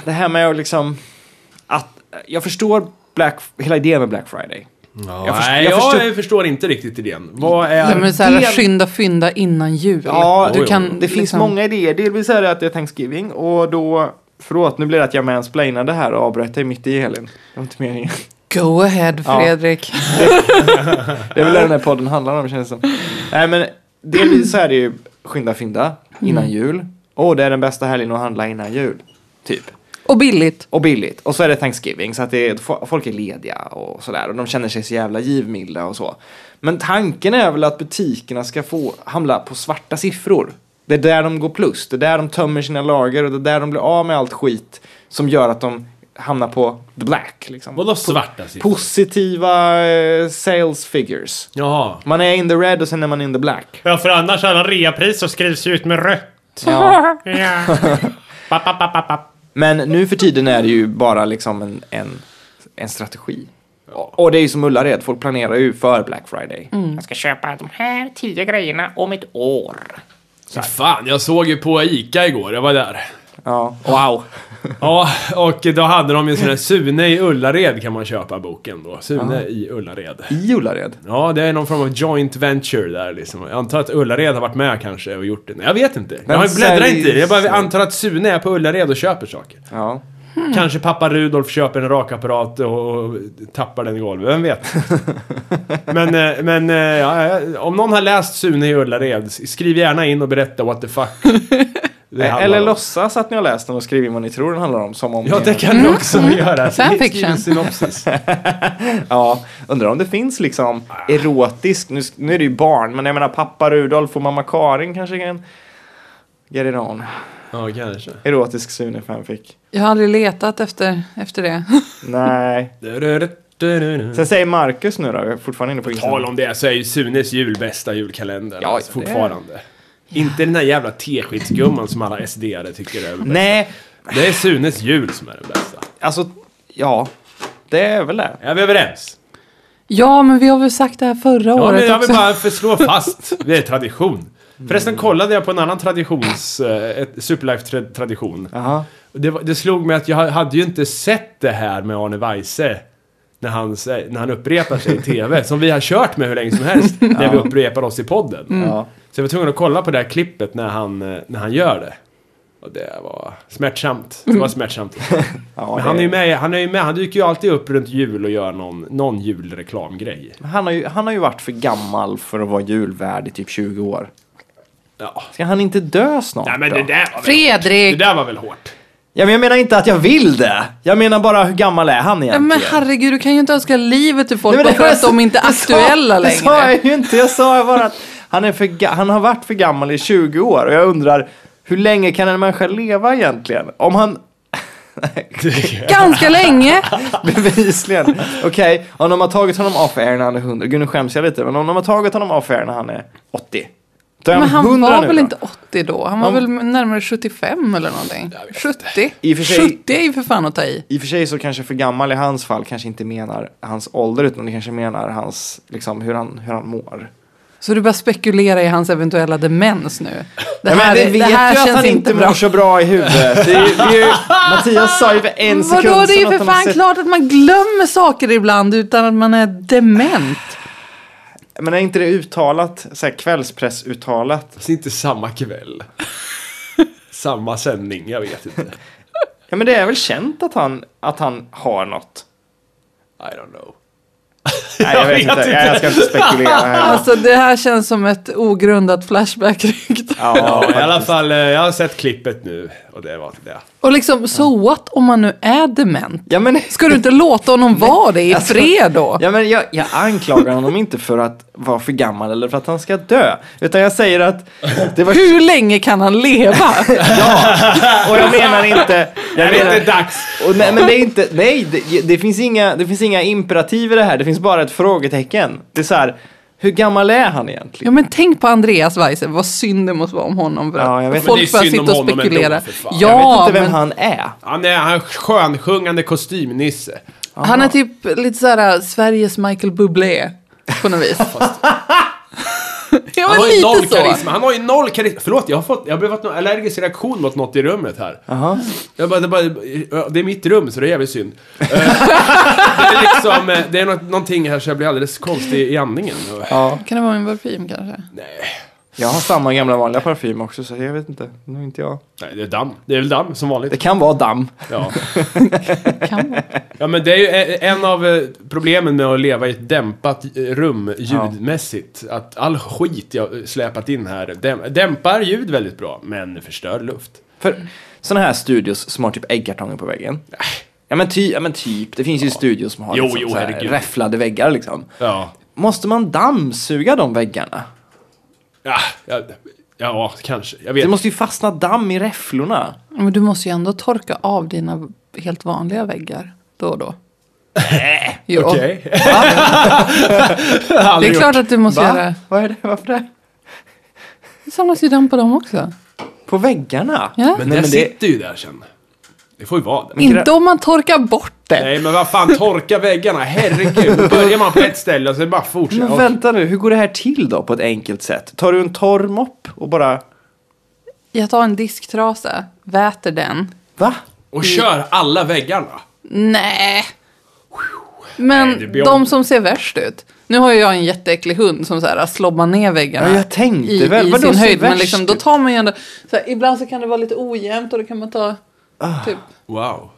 Speaker 2: det här med att liksom, att, jag förstår Black, hela idén med Black Friday.
Speaker 1: Mm.
Speaker 2: Jag först-
Speaker 1: Nej,
Speaker 2: jag
Speaker 1: jag,
Speaker 2: förstår-
Speaker 1: förstår inte riktigt idén. Vad
Speaker 3: Ja,
Speaker 1: är...
Speaker 3: men så här,
Speaker 2: Del-
Speaker 3: Skynda, fynda innan jul.
Speaker 2: Ja,
Speaker 1: jo,
Speaker 3: du
Speaker 1: jo.
Speaker 3: kan,
Speaker 2: Det finns
Speaker 3: liksom-
Speaker 2: många idéer. Delvis är det att det är Thanksgiving och då... Förlåt, nu blir det att jag mansplainade här och avbröt dig mitt i Elin. Det var inte meningen.
Speaker 3: Go ahead
Speaker 2: Ja.
Speaker 3: Fredrik.
Speaker 2: Det är väl det den här podden handlar om känns det som. Nej men delvis så är det ju skynda fynda innan jul. Och det är den bästa helgen att handla innan jul. Typ.
Speaker 3: Och billigt.
Speaker 2: Och billigt. Och så är det Thanksgiving så att det är, fo- folk är lediga och sådär. Och de känner sig så jävla givmilda och så. Men tanken är väl att butikerna ska få hamna på svarta siffror. Det är där de går plus. Det är där de tömmer sina lager och det är där de blir av med allt skit som gör att de hamnar på the black. Liksom.
Speaker 1: Vadå svarta siffror?
Speaker 2: Positiva eh, sales figures.
Speaker 1: Jaha.
Speaker 2: Man är in the red och sen är man in the black.
Speaker 4: Ja,
Speaker 2: <laughs>
Speaker 4: för annars alla reapriser skrivs ju ut med rött.
Speaker 2: Ja.
Speaker 4: Ja. Papp, papp, papp, papp, papp.
Speaker 2: Men nu för tiden är det ju bara liksom en, en, en strategi. Och och det är ju som Ullared, folk planerar ju för Black Friday.
Speaker 4: Mm. Jag ska köpa de här tio grejerna om ett år.
Speaker 1: Så fan, jag såg ju på ICA igår, jag var där.
Speaker 2: Ja. Wow.
Speaker 1: Ja, och då hade de ju sån här Sune i Ullared kan man köpa boken då. Sune i Ullared.
Speaker 2: I Ullared.
Speaker 1: Ja, det är någon form av joint venture där liksom. Jag antar att Ullared har varit med kanske och gjort det. Nej, Jag vet inte. Jag har ju bläddrat
Speaker 2: säljs-
Speaker 1: inte i det. Jag bara antar att Sune är på Ullared och köper saker.
Speaker 2: Ja.
Speaker 1: Kanske pappa Rudolf köper en rakapparat och, och tappar den i golvet. Vem vet?
Speaker 2: <laughs>
Speaker 1: men eh, men eh, ja, ja, om någon har läst Sune i Ullared, s- skriv gärna in och berätta what the
Speaker 2: <laughs>
Speaker 1: fuck. det handlar
Speaker 2: Eller
Speaker 1: om.
Speaker 2: låtsas att ni har läst den och skriv in vad ni tror den handlar om. Som om
Speaker 1: Ja, det kan du också
Speaker 2: Mm.
Speaker 1: göra.
Speaker 3: Fanfiction.
Speaker 1: Skriv en synopsis.
Speaker 2: Ja, undrar om det finns liksom
Speaker 1: Ah.
Speaker 2: erotisk, nu, nu är det ju barn, men jag menar pappa Rudolf och mamma Karin kanske kan get it on.
Speaker 1: Ja, kanske.
Speaker 2: Erotisk Sune fanfic.
Speaker 3: <laughs> Jag har aldrig letat efter, efter det. <laughs>
Speaker 2: Nej. Sen säger Marcus nu då, jag är fortfarande inne på
Speaker 1: Tal
Speaker 2: Instagram.
Speaker 1: om det så är ju Sunes jul bästa julkalender.
Speaker 2: Ja,
Speaker 1: alltså,
Speaker 2: ja, det är-
Speaker 1: fortfarande. Inte den här jävla teskedsgumman som alla SD-are tycker är den bästa.
Speaker 2: Nej,
Speaker 1: Det är Sunes jul som är den bästa.
Speaker 2: alltså, ja. Det är väl det.
Speaker 1: Är vi överens?
Speaker 3: Ja, men vi har väl sagt det här förra
Speaker 1: Ja, men
Speaker 3: året
Speaker 1: jag vill
Speaker 3: också.
Speaker 1: bara förslå fast. Det är tradition. Förresten kollade jag på en annan traditions... eh, ett Superlife-tradition.
Speaker 2: Jaha.
Speaker 1: Det, var- det slog mig att jag hade ju inte sett det här med Arne Weise när han, sä- när han upprepar sig i TV. som vi har kört med hur länge som helst. När vi upprepar oss i podden.
Speaker 2: Ja.
Speaker 1: Så jag var tvungen att kolla på det här klippet när han, eh, när han gör det. Och det var smärtsamt. Det var smärtsamt. Men
Speaker 2: Ja, det-
Speaker 1: han är ju med, han är ju med, han dyker ju alltid upp runt jul och gör någon, någon julreklamgrej.
Speaker 2: han, har ju, han har ju varit för gammal för att vara julvärd i typ 20 år.
Speaker 1: Ja.
Speaker 2: Ska han inte dö snart
Speaker 1: Nej men det
Speaker 2: då?
Speaker 1: där var väl, det
Speaker 3: Fredrik!
Speaker 1: där var väl hårt. <laughs>
Speaker 2: Ja, men jag menar inte att jag vill det. Jag menar bara hur gammal är han
Speaker 3: Ja,
Speaker 2: egentligen?
Speaker 3: men herregud, du kan ju inte önska livet till folk
Speaker 2: Nej,
Speaker 3: bara
Speaker 2: men
Speaker 3: för
Speaker 2: det-
Speaker 3: att de inte
Speaker 2: <laughs>
Speaker 3: är
Speaker 2: det sa-
Speaker 3: aktuella
Speaker 2: Det sa
Speaker 3: längre.
Speaker 2: jag ju inte. Jag sa bara att han, är för, ga- han har varit för gammal i 20 år och jag undrar hur länge kan en människa leva egentligen? Om han <laughs>
Speaker 1: <laughs>
Speaker 3: Ganska länge!
Speaker 2: bevisligen, okej, om de har tagit honom off air när han är 100, gud nu skäms jag lite, men om de har tagit honom off air när han är 80. Då är
Speaker 3: Men han
Speaker 2: 100
Speaker 3: var
Speaker 2: nu
Speaker 3: väl
Speaker 2: då?
Speaker 3: inte 80 då? Han var
Speaker 2: Han-
Speaker 3: väl närmare 75 eller någonting? 70?
Speaker 2: I och för sig-
Speaker 3: 70 är ju för fan att ta i.
Speaker 2: I och för sig så kanske för gammal i hans fall kanske inte menar hans ålder utan det kanske menar hans, liksom hur han, hur han mår.
Speaker 3: Så du bara spekulerar i hans eventuella demens nu? Det
Speaker 2: Ja, men
Speaker 3: här,
Speaker 2: vi
Speaker 3: är-
Speaker 2: vet
Speaker 3: det här
Speaker 2: ju att
Speaker 3: känns
Speaker 2: han inte
Speaker 3: inte
Speaker 2: mår
Speaker 3: bra.
Speaker 2: så bra i huvudet. Det är, ju- det är
Speaker 3: <laughs>
Speaker 2: ju, Mattias sa ju för en sekund
Speaker 3: Vadå, det är
Speaker 2: sedan
Speaker 3: ju
Speaker 2: att
Speaker 3: för
Speaker 2: han har
Speaker 3: fan
Speaker 2: sett-
Speaker 3: klart att man glömmer saker ibland utan att man är dement.
Speaker 2: Men är inte det uttalat, så här kvällspressuttalat?
Speaker 1: Fast inte samma kväll. samma sändning, jag vet inte.
Speaker 2: Ja men det är väl känt att han, att han har något?
Speaker 1: I don't know. <laughs>
Speaker 2: Nej jag, vet inte, Ja, jag ska inte spekulera
Speaker 3: <laughs>
Speaker 2: här.
Speaker 3: Alltså det här känns som ett ogrundat flashback-rykte.
Speaker 2: Ja,
Speaker 1: I alla fall, eh, jag har sett klippet nu och det var det.
Speaker 3: Och liksom, so what om man nu är dement?
Speaker 2: ja men,
Speaker 3: Ska du inte låta honom vara det i
Speaker 2: alltså-
Speaker 3: fred då?
Speaker 2: ja, men jag, jag anklagar honom inte för att vara för gammal eller för att han ska dö. Utan jag säger att det var...
Speaker 3: Hur länge kan han leva? <laughs>
Speaker 2: Och jag <laughs> menar inte... Jag
Speaker 1: Det är
Speaker 2: menar,
Speaker 1: inte dags!
Speaker 2: och nej, men det är inte, nej det, det, finns inga, det finns inga imperativ i det här. Det finns bara ett frågetecken. Det är så här, hur gammal är han egentligen?
Speaker 3: Ja men tänk på Andreas Weise, vad synd det måste vara om honom. För att
Speaker 2: Ja, jag vet.
Speaker 1: Men
Speaker 3: folk
Speaker 1: det är
Speaker 3: börjar
Speaker 1: synd
Speaker 3: sitta
Speaker 1: om
Speaker 3: och
Speaker 1: honom ändå,
Speaker 3: spekulera.
Speaker 1: för fan.
Speaker 3: ja,
Speaker 2: jag vet inte vem
Speaker 3: men han...
Speaker 2: han är.
Speaker 1: Han är han är skönsjungande kostymnisse.
Speaker 3: är typ lite såhär Sveriges Michael Bublé på
Speaker 1: <laughs>
Speaker 3: något vis. <laughs> ja
Speaker 1: Han
Speaker 3: men
Speaker 1: har ju noll
Speaker 3: lite så.
Speaker 1: karisma. Han har ju noll karisma. Förlåt, jag har, fått, jag har blivit någon allergisk reaktion mot något i rummet här. Jag bara, det, bara, det är mitt rum, så det är jävligt synd. Eh, <laughs> det är liksom, eh, det är något, någonting här så jag blir alldeles konstig i andningen.
Speaker 2: Ja.
Speaker 3: Kan det vara min parfym kanske?
Speaker 2: Jag har samma gamla vanliga parfym också så jag vet inte. Nu är inte jag.
Speaker 1: Nej, det är damm. Det är väl damm, som vanligt.
Speaker 2: Det kan vara damm.
Speaker 1: Ja.
Speaker 3: Kan vara.
Speaker 1: ja, men det är ju eh, en av eh, problemen med att leva i ett dämpat eh, rum ljudmässigt. Att all skit jag eh, släpat in här däm- dämpar ljud väldigt bra, men förstör luft.
Speaker 2: För sådana här studios som har typ äggkartonger på väggen. Ja men, ty, ja men typ, det finns ju studios som har
Speaker 1: Jo,
Speaker 2: liksom
Speaker 1: jo,
Speaker 2: så här
Speaker 1: herregud.
Speaker 2: räfflade väggar liksom.
Speaker 1: Ja.
Speaker 2: Måste man dammsuga de väggarna?
Speaker 1: Ja, ja, ja kanske. Jag vet
Speaker 2: Det måste ju fastna damm i räfflorna.
Speaker 3: Men du måste ju ändå torka av dina helt vanliga väggar då
Speaker 1: <laughs>
Speaker 3: och då. Jo.
Speaker 1: Okej.
Speaker 2: <laughs>
Speaker 3: Det är klart att du måste göra
Speaker 2: Va?
Speaker 3: det.
Speaker 2: Vad är det? Varför det?
Speaker 3: Det samlas ju damm på dem också.
Speaker 2: På väggarna?
Speaker 3: Ja.
Speaker 1: Men
Speaker 2: Nej,
Speaker 1: det
Speaker 2: men det,
Speaker 1: sitter ju där sen. Det får ju vara det.
Speaker 3: Inte om man torkar bort det.
Speaker 1: Nej men vad fan, torka väggarna, herregud. Då börjar man på ett ställe och sen bara fortsätter.
Speaker 2: Men vänta nu, hur går det här till då på ett enkelt sätt? Tar du en torr mopp och bara...
Speaker 3: Jag tar en disktrasa, väter den.
Speaker 2: Va?
Speaker 1: Och kör alla väggarna.
Speaker 3: Nej.
Speaker 1: Nej, det
Speaker 3: Men
Speaker 1: blir om-
Speaker 3: de som ser värst ut. Nu har ju jag en jätteäcklig hund som så här slobbar ner väggarna.
Speaker 2: Ja, jag tänkte
Speaker 3: i,
Speaker 2: väl.
Speaker 3: I
Speaker 2: Vadå
Speaker 3: sin
Speaker 2: ser
Speaker 3: höjd. Men
Speaker 2: värst
Speaker 3: liksom, då
Speaker 2: ut?
Speaker 3: tar man ju ändå. Så här, ibland så kan det vara lite ojämnt och då kan man ta
Speaker 1: Ah,
Speaker 3: typ.
Speaker 1: Wow.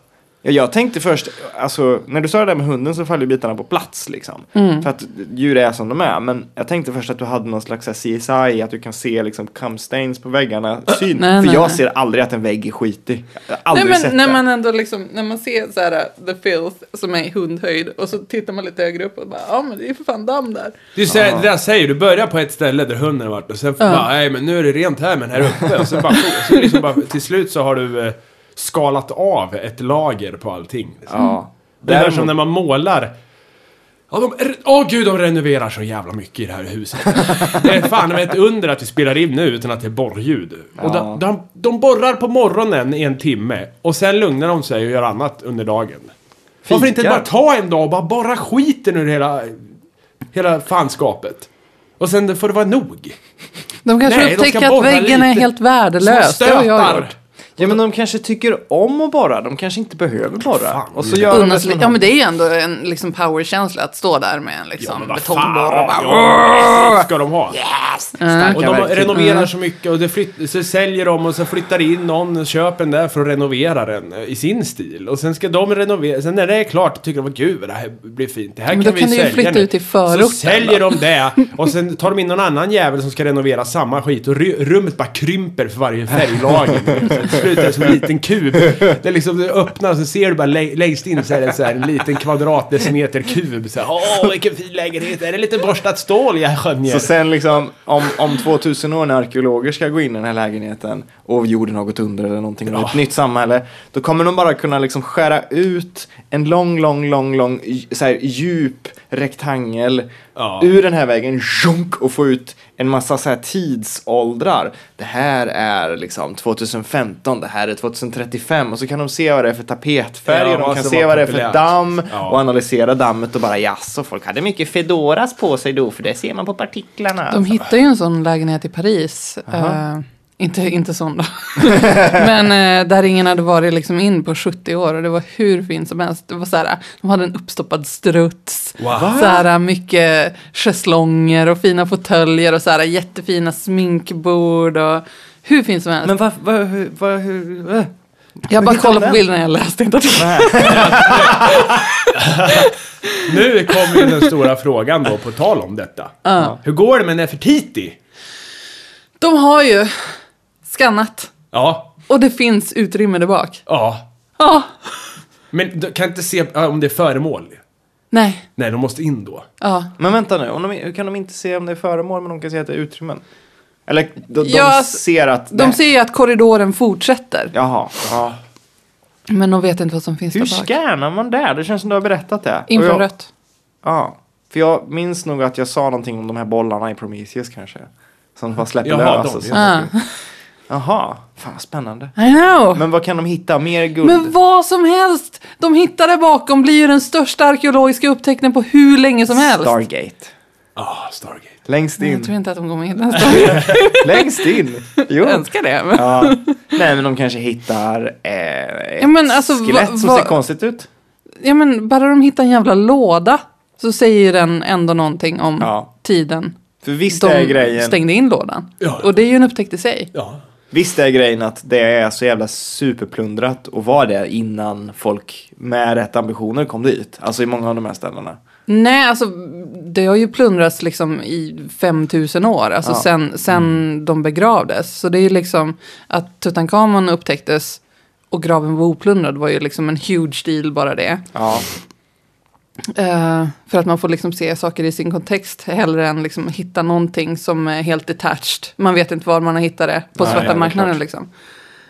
Speaker 2: Ja, Jag tänkte först, alltså när du sa det där med hunden så faller ju bitarna på plats liksom.
Speaker 3: Mm.
Speaker 2: För att djur är som de är. Men jag tänkte först att du hade någon slags så här CSI, att du kan se liksom cum stains på väggarna. Syn.
Speaker 3: Nej,
Speaker 2: För
Speaker 3: nej,
Speaker 2: jag
Speaker 3: nej.
Speaker 2: ser aldrig att en vägg är skitig. Jag har
Speaker 3: Nej,
Speaker 2: aldrig sett
Speaker 3: men, när
Speaker 2: det.
Speaker 3: man ändå liksom, när man ser så här uh, the filth som är i hundhöjd och så tittar man lite högre upp och bara ja men det är ju för fan damm där.
Speaker 1: Du säger, det där säger du, börjar på ett ställe där hunden har varit och sen får bara, nej men nu är det rent här men här uppe. Och sen bara, så liksom bara, till slut så har du eh, skalat av ett lager på allting. Liksom.
Speaker 2: Ja.
Speaker 1: Det är
Speaker 2: Däremot-
Speaker 1: som när man målar. Ja, de, åh gud, de renoverar så jävla mycket i det här
Speaker 3: <laughs>
Speaker 1: huset. Det är fan med ett under att vi spelar in nu utan att det är borrljud. Och de, de, de borrar på morgonen i en timme och sen lugnar de sig och gör annat under dagen. Varför inte
Speaker 2: Fikar.
Speaker 1: bara ta en dag och bara borra skiten ur hela, hela fanskapet? Och sen får det vara nog.
Speaker 3: De kanske
Speaker 1: Nej, de ska
Speaker 3: upptäcker
Speaker 1: borra
Speaker 3: att väggen är
Speaker 1: lite.
Speaker 3: helt
Speaker 1: Små
Speaker 3: värdelös. Det har jag
Speaker 1: stötar.
Speaker 3: gjort.
Speaker 2: Ja men de kanske tycker om att borra, de kanske inte behöver borra. Och så gör de det
Speaker 3: Unnas,
Speaker 2: som en
Speaker 3: ja men det är ju ändå en liksom powerkänsla att stå där med en
Speaker 1: Ja,
Speaker 3: liksom
Speaker 1: men vad fan.
Speaker 3: betongborr och bara
Speaker 1: Ja, ska de ha.
Speaker 2: starka
Speaker 1: Och de
Speaker 2: verktyg.
Speaker 3: Mm.
Speaker 1: renoverar så mycket och det flytt, så säljer de och så flyttar in någon, köper den där för att renovera den eh, i sin stil. Och sen ska de renovera, sen när det är klart tycker de att gud vad det här blir fint, det här
Speaker 3: Men
Speaker 1: kan
Speaker 3: då
Speaker 1: vi
Speaker 3: kan du ju
Speaker 1: sälja
Speaker 3: flytta
Speaker 1: nu."
Speaker 3: ut till förorten
Speaker 1: Så säljer
Speaker 3: då.
Speaker 1: de det
Speaker 3: <laughs>
Speaker 1: och sen tar de in någon annan jävel som ska renovera samma skit och ry- rummet bara krymper för varje
Speaker 3: <laughs>
Speaker 1: färglager. Så Till slut är det som en liten kub. Det är liksom, det öppnar och så ser du bara lä- längst in så är det så här en liten kvadratdecimeter kub. Så här, Åh, vilken fin lägenhet, är det lite borstat stål jag skönjer?
Speaker 2: Så sen liksom om, om 2000 år när arkeologer ska gå in i den här lägenheten och jorden har gått under eller någonting, ja. ett nytt samhälle, då kommer de bara kunna liksom skära ut en lång, lång, lång, lång, j- så här, djup rektangel
Speaker 1: Ja.
Speaker 2: ur den här vägen zhunk, och få ut en massa så här tidsåldrar. Det här är liksom 2015, det här är 2035 och så kan de se vad det är för tapetfärger,
Speaker 1: Ja,
Speaker 2: de
Speaker 1: vad
Speaker 2: kan
Speaker 1: som
Speaker 2: se
Speaker 1: var
Speaker 2: vad det är för
Speaker 1: populärt.
Speaker 2: damm
Speaker 1: Ja.
Speaker 2: och analysera dammet och bara jaså, folk hade mycket fedoras på sig då för det ser man på partiklarna.
Speaker 3: De hittar ju en sån lägenhet i Paris. Eh, inte, inte sån då. <laughs> Men eh, där ingen hade varit liksom in på 70 år och det var hur fint som helst. Det var så här, de hade en uppstoppad struts.
Speaker 1: Wow.
Speaker 3: Så här, eh, mycket schäslonger och fina fåtöljer och så här, jättefina sminkbord. Och, hur fint som helst.
Speaker 2: Men vad, vad, hur, vad, hur, äh.
Speaker 3: jag bara
Speaker 2: hittade
Speaker 3: kollade
Speaker 2: den?
Speaker 3: på bilderna, jag läste inte. artikeln.
Speaker 1: Nu kommer ju den stora frågan då, på tal om detta. Hur går det med Nefertiti?
Speaker 3: De har ju skannat
Speaker 1: Ja,
Speaker 3: och det finns utrymme där bak.
Speaker 1: ja.
Speaker 3: Ja,
Speaker 1: Men du kan inte se ja, om det är föremål.
Speaker 3: nej,
Speaker 1: Nej, de måste in då.
Speaker 3: ja.
Speaker 2: Men vänta nu, om de, hur kan de inte se om det är föremål men de kan se att det är utrymmen? Eller de, de
Speaker 3: Ja, alltså,
Speaker 2: ser att...
Speaker 3: De
Speaker 2: nej.
Speaker 3: ser ju att korridoren fortsätter.
Speaker 2: Jaha. Ja.
Speaker 3: Men de vet inte vad som finns
Speaker 2: Hur
Speaker 3: där bak.
Speaker 2: scannar man där? Det känns som du har berättat det. Och jag-
Speaker 3: Infrarött.
Speaker 2: Ja. För jag minns nog att jag sa någonting om de här bollarna i Prometheus kanske. Som bara släpper
Speaker 1: Jaha,
Speaker 2: lös.
Speaker 1: de,
Speaker 2: och så.
Speaker 1: ja.
Speaker 3: Ah.
Speaker 2: Jaha, fan spännande.
Speaker 3: I know. Men,
Speaker 2: Men vad kan de hitta? Mer guld?
Speaker 3: vad som helst de hittade bakom blir ju den största arkeologiska upptäckten på hur länge som helst.
Speaker 2: Stargate.
Speaker 1: Ah, Stargate.
Speaker 2: Längst
Speaker 3: Jag <laughs> tror
Speaker 2: in.
Speaker 3: inte att de kommer hitta en
Speaker 2: <laughs>
Speaker 3: Stargate.
Speaker 2: Längst in. Jo.
Speaker 3: Jag önskar det. Men...
Speaker 2: Ja. Nej men de kanske hittar eh, ett
Speaker 3: Ja, men alltså, va-
Speaker 2: skelett som
Speaker 3: va-
Speaker 2: ser konstigt ut.
Speaker 3: Ja, men bara de hittar en jävla låda så säger den ändå någonting om
Speaker 2: Ja.
Speaker 3: tiden.
Speaker 2: För visst är
Speaker 3: De
Speaker 2: grejen,
Speaker 3: stängde in lådan.
Speaker 1: Ja.
Speaker 3: Och det är ju en upptäckt i sig.
Speaker 1: Ja.
Speaker 2: visst är grejen att det är så jävla superplundrat och var det innan folk med rätt ambitioner kom dit. Alltså i många av de här ställena.
Speaker 3: Nej, alltså det har ju plundrats liksom i 5000 år, alltså
Speaker 2: Ja.
Speaker 3: sen, sen de begravdes. Så det är ju liksom att Tutankhamon upptäcktes och graven var oplundrad var ju liksom en huge deal bara det.
Speaker 2: Ja.
Speaker 3: Eh, för att man får liksom se saker i sin kontext hellre än liksom hitta någonting som är helt detached. Man vet inte var man har hittat det på
Speaker 2: Nej, ja, det
Speaker 3: svarta
Speaker 2: är
Speaker 3: marknaden
Speaker 2: klart.
Speaker 3: liksom.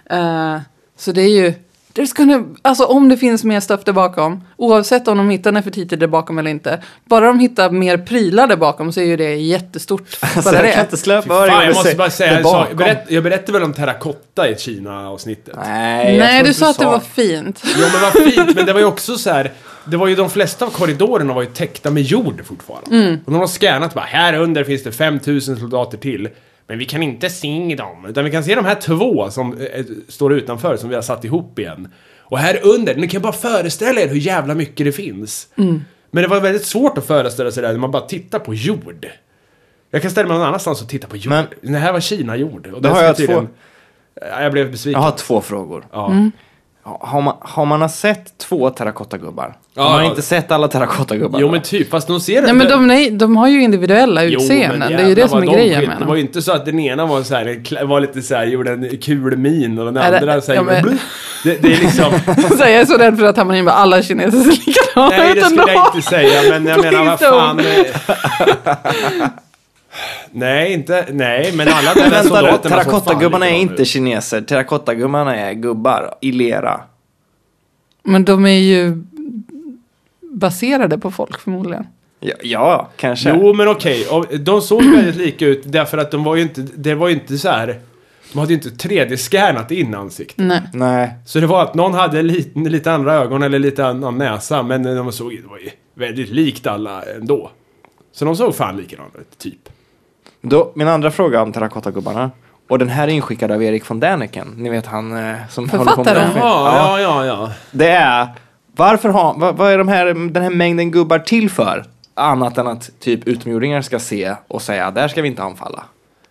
Speaker 3: Eh, så det är ju There's gonna, alltså om det finns mer stuff där bakom, oavsett om de hittar Nefertiti där bakom eller inte, bara de hittar mer prylar där bakom så är ju det jättestort.
Speaker 2: <laughs> Alltså,
Speaker 3: bara
Speaker 2: jag
Speaker 3: det.
Speaker 2: kan inte släppa
Speaker 1: Fan,
Speaker 2: Örjan
Speaker 1: jag
Speaker 2: och
Speaker 1: måste
Speaker 2: se-
Speaker 1: bara säga
Speaker 2: där
Speaker 1: en sak.
Speaker 2: bakom.
Speaker 1: Berätt, jag berättade väl om terrakotta i Kina-avsnittet?
Speaker 2: Nej, jag tror
Speaker 3: Nej,
Speaker 2: inte
Speaker 3: du sa att det var fint.
Speaker 1: Jo men vad fint, men det var ju också så här. Det var ju de flesta av korridorerna var ju täckta med jord fortfarande.
Speaker 3: Mm.
Speaker 1: Och de har scannat bara, här under finns det 5000 soldater till. Men vi kan inte se dem, utan vi kan se de här två som eh, står utanför som vi har satt ihop igen. Och här under, ni kan bara föreställa er hur jävla mycket det finns.
Speaker 3: Mm.
Speaker 1: Men det var väldigt svårt att föreställa sig det här när man bara tittar på jord. Jag kan ställa mig någon annanstans och titta på jord.
Speaker 2: Men-
Speaker 1: det här var Kina-jord. Och
Speaker 2: Då
Speaker 1: den
Speaker 2: har
Speaker 1: ska
Speaker 2: jag
Speaker 1: tydligen-
Speaker 2: två-
Speaker 1: Ja, Jag blev besviken.
Speaker 2: Jag har två frågor.
Speaker 1: Ja.
Speaker 3: Mm.
Speaker 2: Har man, har man sett två terrakottagubbar?
Speaker 1: Ja,
Speaker 2: har man
Speaker 1: ja.
Speaker 2: inte sett alla terrakottagubbar?
Speaker 1: Jo men typ, fast de ser
Speaker 3: Nej, men de, nej, de har ju individuella
Speaker 1: Jo, men
Speaker 3: utseenden, det är ju
Speaker 1: jävlar
Speaker 3: det som är
Speaker 1: vad de
Speaker 3: grejen
Speaker 1: skit-
Speaker 3: med
Speaker 1: Det var
Speaker 3: dem.
Speaker 1: ju inte så att den ena var så här, kla- var lite så här, gjorde en kul min och den
Speaker 3: Nej, det-
Speaker 1: andra så här,
Speaker 3: ja,
Speaker 1: gjorde
Speaker 3: men-
Speaker 1: bluh. det, det är liksom...
Speaker 3: <laughs> så jag är så rädd för att hamna in med alla kineser ser likadana
Speaker 1: Nej,
Speaker 3: ut
Speaker 1: det skulle
Speaker 3: ändå.
Speaker 1: jag inte säga, men
Speaker 3: <laughs>
Speaker 1: jag menar vad
Speaker 3: Please
Speaker 1: fan... eh, <laughs> Nej, inte... Nej, men alla de här
Speaker 2: Men
Speaker 1: soldaterna
Speaker 2: vänta nu,
Speaker 1: såg fan liksom.
Speaker 2: terrakottagubbarna är
Speaker 1: likadana
Speaker 2: inte
Speaker 1: ut.
Speaker 2: kineser. Terrakottagubbarna är gubbar i lera.
Speaker 3: Men de är ju baserade på folk förmodligen.
Speaker 2: Ja, ja kanske.
Speaker 1: Jo, men okej. och De såg väldigt lika ut därför att de var ju inte... Det var ju inte så här... De hade ju inte 3D-skannat in ansiktet.
Speaker 3: Nej.
Speaker 2: Nej.
Speaker 1: Så det var att någon hade lite, lite andra ögon eller lite annan näsa, men de såg det var ju väldigt likt alla ändå. Så de såg fan likadana ut, typ.
Speaker 2: Då, min andra fråga om terrakottagubbarna. Och den här är inskickad av Erik von Däniken. Ni vet han eh, som håller på
Speaker 3: Författaren?
Speaker 2: med
Speaker 1: Ja, ja, ja, ja.
Speaker 2: Det är, varför har, vad, vad är de här, den här mängden gubbar till för? Annat än att typ utomjordingar ska se och säga, där ska vi inte anfalla.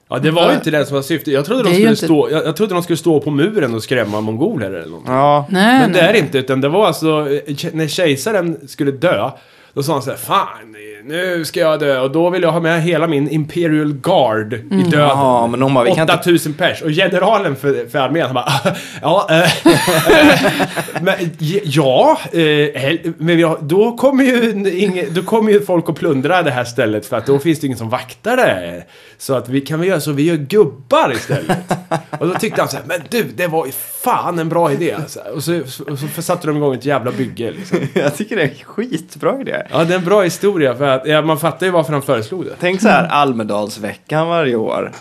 Speaker 1: Ja, det var ju inte det som var syftet. Jag trodde,
Speaker 3: Det
Speaker 1: de
Speaker 3: är ju
Speaker 1: skulle,
Speaker 3: inte-
Speaker 1: stå, jag, jag trodde de skulle stå på muren och skrämma mongoler eller något.
Speaker 2: Ja.
Speaker 3: Nej,
Speaker 1: Men det
Speaker 3: nej.
Speaker 1: är det inte, utan det var alltså eh, ke- när kejsaren skulle dö. Då sa han såhär, fan nu ska jag dö och då vill jag ha med hela min Imperial Guard i döden.
Speaker 2: Ja, men de bara, vi kan inte-
Speaker 1: 8000 pers. Och generalen för, för armén han bara, <laughs> ja, eh, eh, men, j- ja, eh, hel- men vi har- då kommer ju n- inge, då kommer ju folk att plundra det här stället för att då finns det ingen som vaktar det. Så att vi kan väl göra så, vi gör gubbar istället. Och då tyckte han så här, men du, det var ju fan en bra idé. Alltså. Och, så, och så satte de igång ett jävla bygge liksom.
Speaker 2: <laughs> Jag tycker det är en skitbra idé.
Speaker 1: Ja, det är en bra historia för att, ja, man fattar ju varför han föreslog det.
Speaker 2: Tänk så här Almedalsveckan varje år.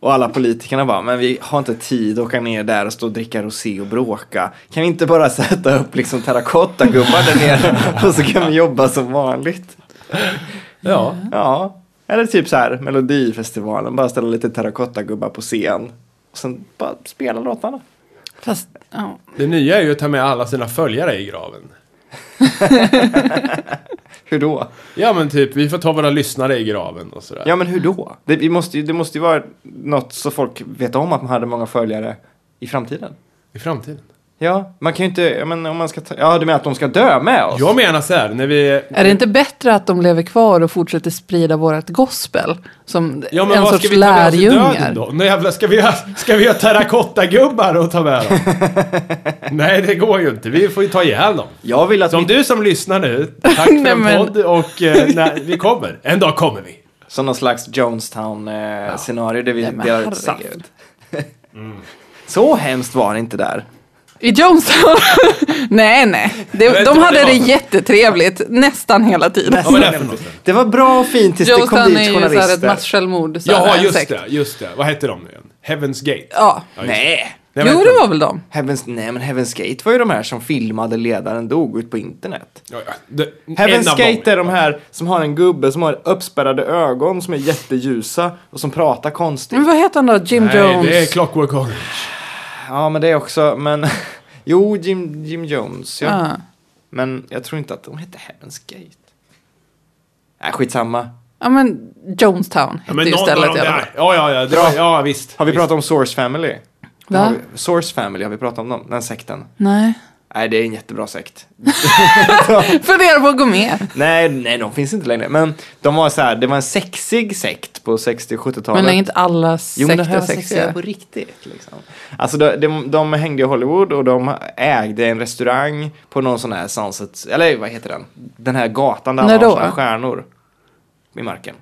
Speaker 2: Och alla politikerna bara, men vi har inte tid att åka ner där och stå och dricka rosé och bråka. Kan vi inte bara <laughs> sätta upp liksom terrakottagubbar där nere <laughs> och så kan vi jobba som vanligt?
Speaker 1: Ja.
Speaker 2: Ja, eller typ så här Melodifestivalen, bara ställa lite terrakottagubbar på scen. Och sen bara spela låtarna.
Speaker 3: Fast, ja.
Speaker 1: Det nya är ju att ta med alla sina följare i graven.
Speaker 2: Hur då?
Speaker 1: Ja men typ, vi får ta våra lyssnare i graven och sådär.
Speaker 2: Ja, men hur då? Det, vi måste ju, det måste ju vara något så folk vet om att man hade många följare i framtiden.
Speaker 1: I framtiden.
Speaker 2: Ja, man kan ju inte, ja, men om man ska ta, ja du menar att de ska dö med oss?
Speaker 1: Jag menar så här, när vi...
Speaker 3: Är det inte bättre att de lever kvar och fortsätter sprida vårt gospel? Som
Speaker 1: Ja men
Speaker 3: en
Speaker 1: vad
Speaker 3: sorts
Speaker 1: ska vi ta med oss i döden
Speaker 3: lärjungar?
Speaker 1: då? Nu jävlar, ska vi ha, ska vi ha terrakottagubbar och ta med dem?
Speaker 3: <laughs>
Speaker 1: Nej det går ju inte, vi får ju ta ihjäl dem.
Speaker 2: Jag vill att
Speaker 1: Som
Speaker 2: mitt,
Speaker 1: du som lyssnar nu,
Speaker 3: <laughs>
Speaker 1: tack för
Speaker 3: Nej,
Speaker 1: en
Speaker 3: men-
Speaker 1: podd och eh, nej, vi kommer. En dag kommer vi.
Speaker 2: som någon slags Jonestown-scenario där vi
Speaker 3: Nej, men
Speaker 2: delar ut saft.
Speaker 3: herregud.
Speaker 1: Mm.
Speaker 2: <laughs> Så hemskt var det inte där.
Speaker 3: I Jonestown? <laughs> nej, nej.
Speaker 1: vet
Speaker 3: De,
Speaker 1: inte
Speaker 3: de
Speaker 1: vad
Speaker 3: hade
Speaker 1: det
Speaker 3: det,
Speaker 1: var för-
Speaker 3: jättetrevligt nästan hela tiden.
Speaker 1: Vad var det för något?
Speaker 2: Det var bra och fint tills det kom
Speaker 3: Jonestown
Speaker 2: dit
Speaker 3: är ju så här ett
Speaker 2: journalister.
Speaker 3: mass-självmord. så här,
Speaker 1: Jaha,
Speaker 3: en
Speaker 1: just
Speaker 3: sekt.
Speaker 1: det, just det. Vad hette de nu igen? Heaven's Gate?
Speaker 3: Ja.
Speaker 1: just det.
Speaker 2: Nej!
Speaker 1: Nej,
Speaker 3: Jo,
Speaker 1: vad
Speaker 3: det
Speaker 1: hette
Speaker 3: var väl de.
Speaker 2: Heavens, nej men Heaven's Gate var ju de här som filmade ledaren dog ut på internet.
Speaker 1: de? Ja, ja, det- en
Speaker 2: Heaven's
Speaker 1: av
Speaker 2: Gate
Speaker 1: dem.
Speaker 2: är de här som har en gubbe som har uppspärrade ögon som är jätteljusa och som pratar konstigt.
Speaker 3: Men vad heter han då? Jim
Speaker 1: Nej,
Speaker 3: Jones?
Speaker 1: det är Clockwork Orange.
Speaker 2: Ja men det är också, men <laughs> jo Jim, Jim Jones ja.
Speaker 3: Ja.
Speaker 2: Men jag tror inte att de hette Heaven's Gate. Nej skitsamma.
Speaker 3: ja, men Jonestown
Speaker 1: Ja,
Speaker 3: hette
Speaker 1: men
Speaker 3: ju
Speaker 1: någon av
Speaker 3: stället
Speaker 1: dem
Speaker 3: i alla fall.
Speaker 1: där. Ja, ja, ja. Det var, ja, visst.
Speaker 2: Har vi
Speaker 1: visst.
Speaker 2: pratat om Source Family?
Speaker 3: Va?
Speaker 2: Har vi- Source Family, har vi pratat om dem? Den sekten?
Speaker 3: Nej. <laughs>
Speaker 2: Nej det är en jättebra sekt.
Speaker 3: Funderar på att gå med.
Speaker 2: nej, nej de finns inte längre. Men de var så här, det var en sexig sekt på 60 och 70-talet.
Speaker 3: Men är inte alla
Speaker 2: Jo, men det här
Speaker 3: sekter
Speaker 2: var
Speaker 3: sexiga?
Speaker 2: sexiga på riktigt. Liksom. Alltså, de, de, de hängde i Hollywood och de ägde en restaurang på någon sån här Sunset, eller vad heter den? Den här gatan där
Speaker 3: När
Speaker 2: alla har
Speaker 3: då?
Speaker 2: såna stjärnor i marken.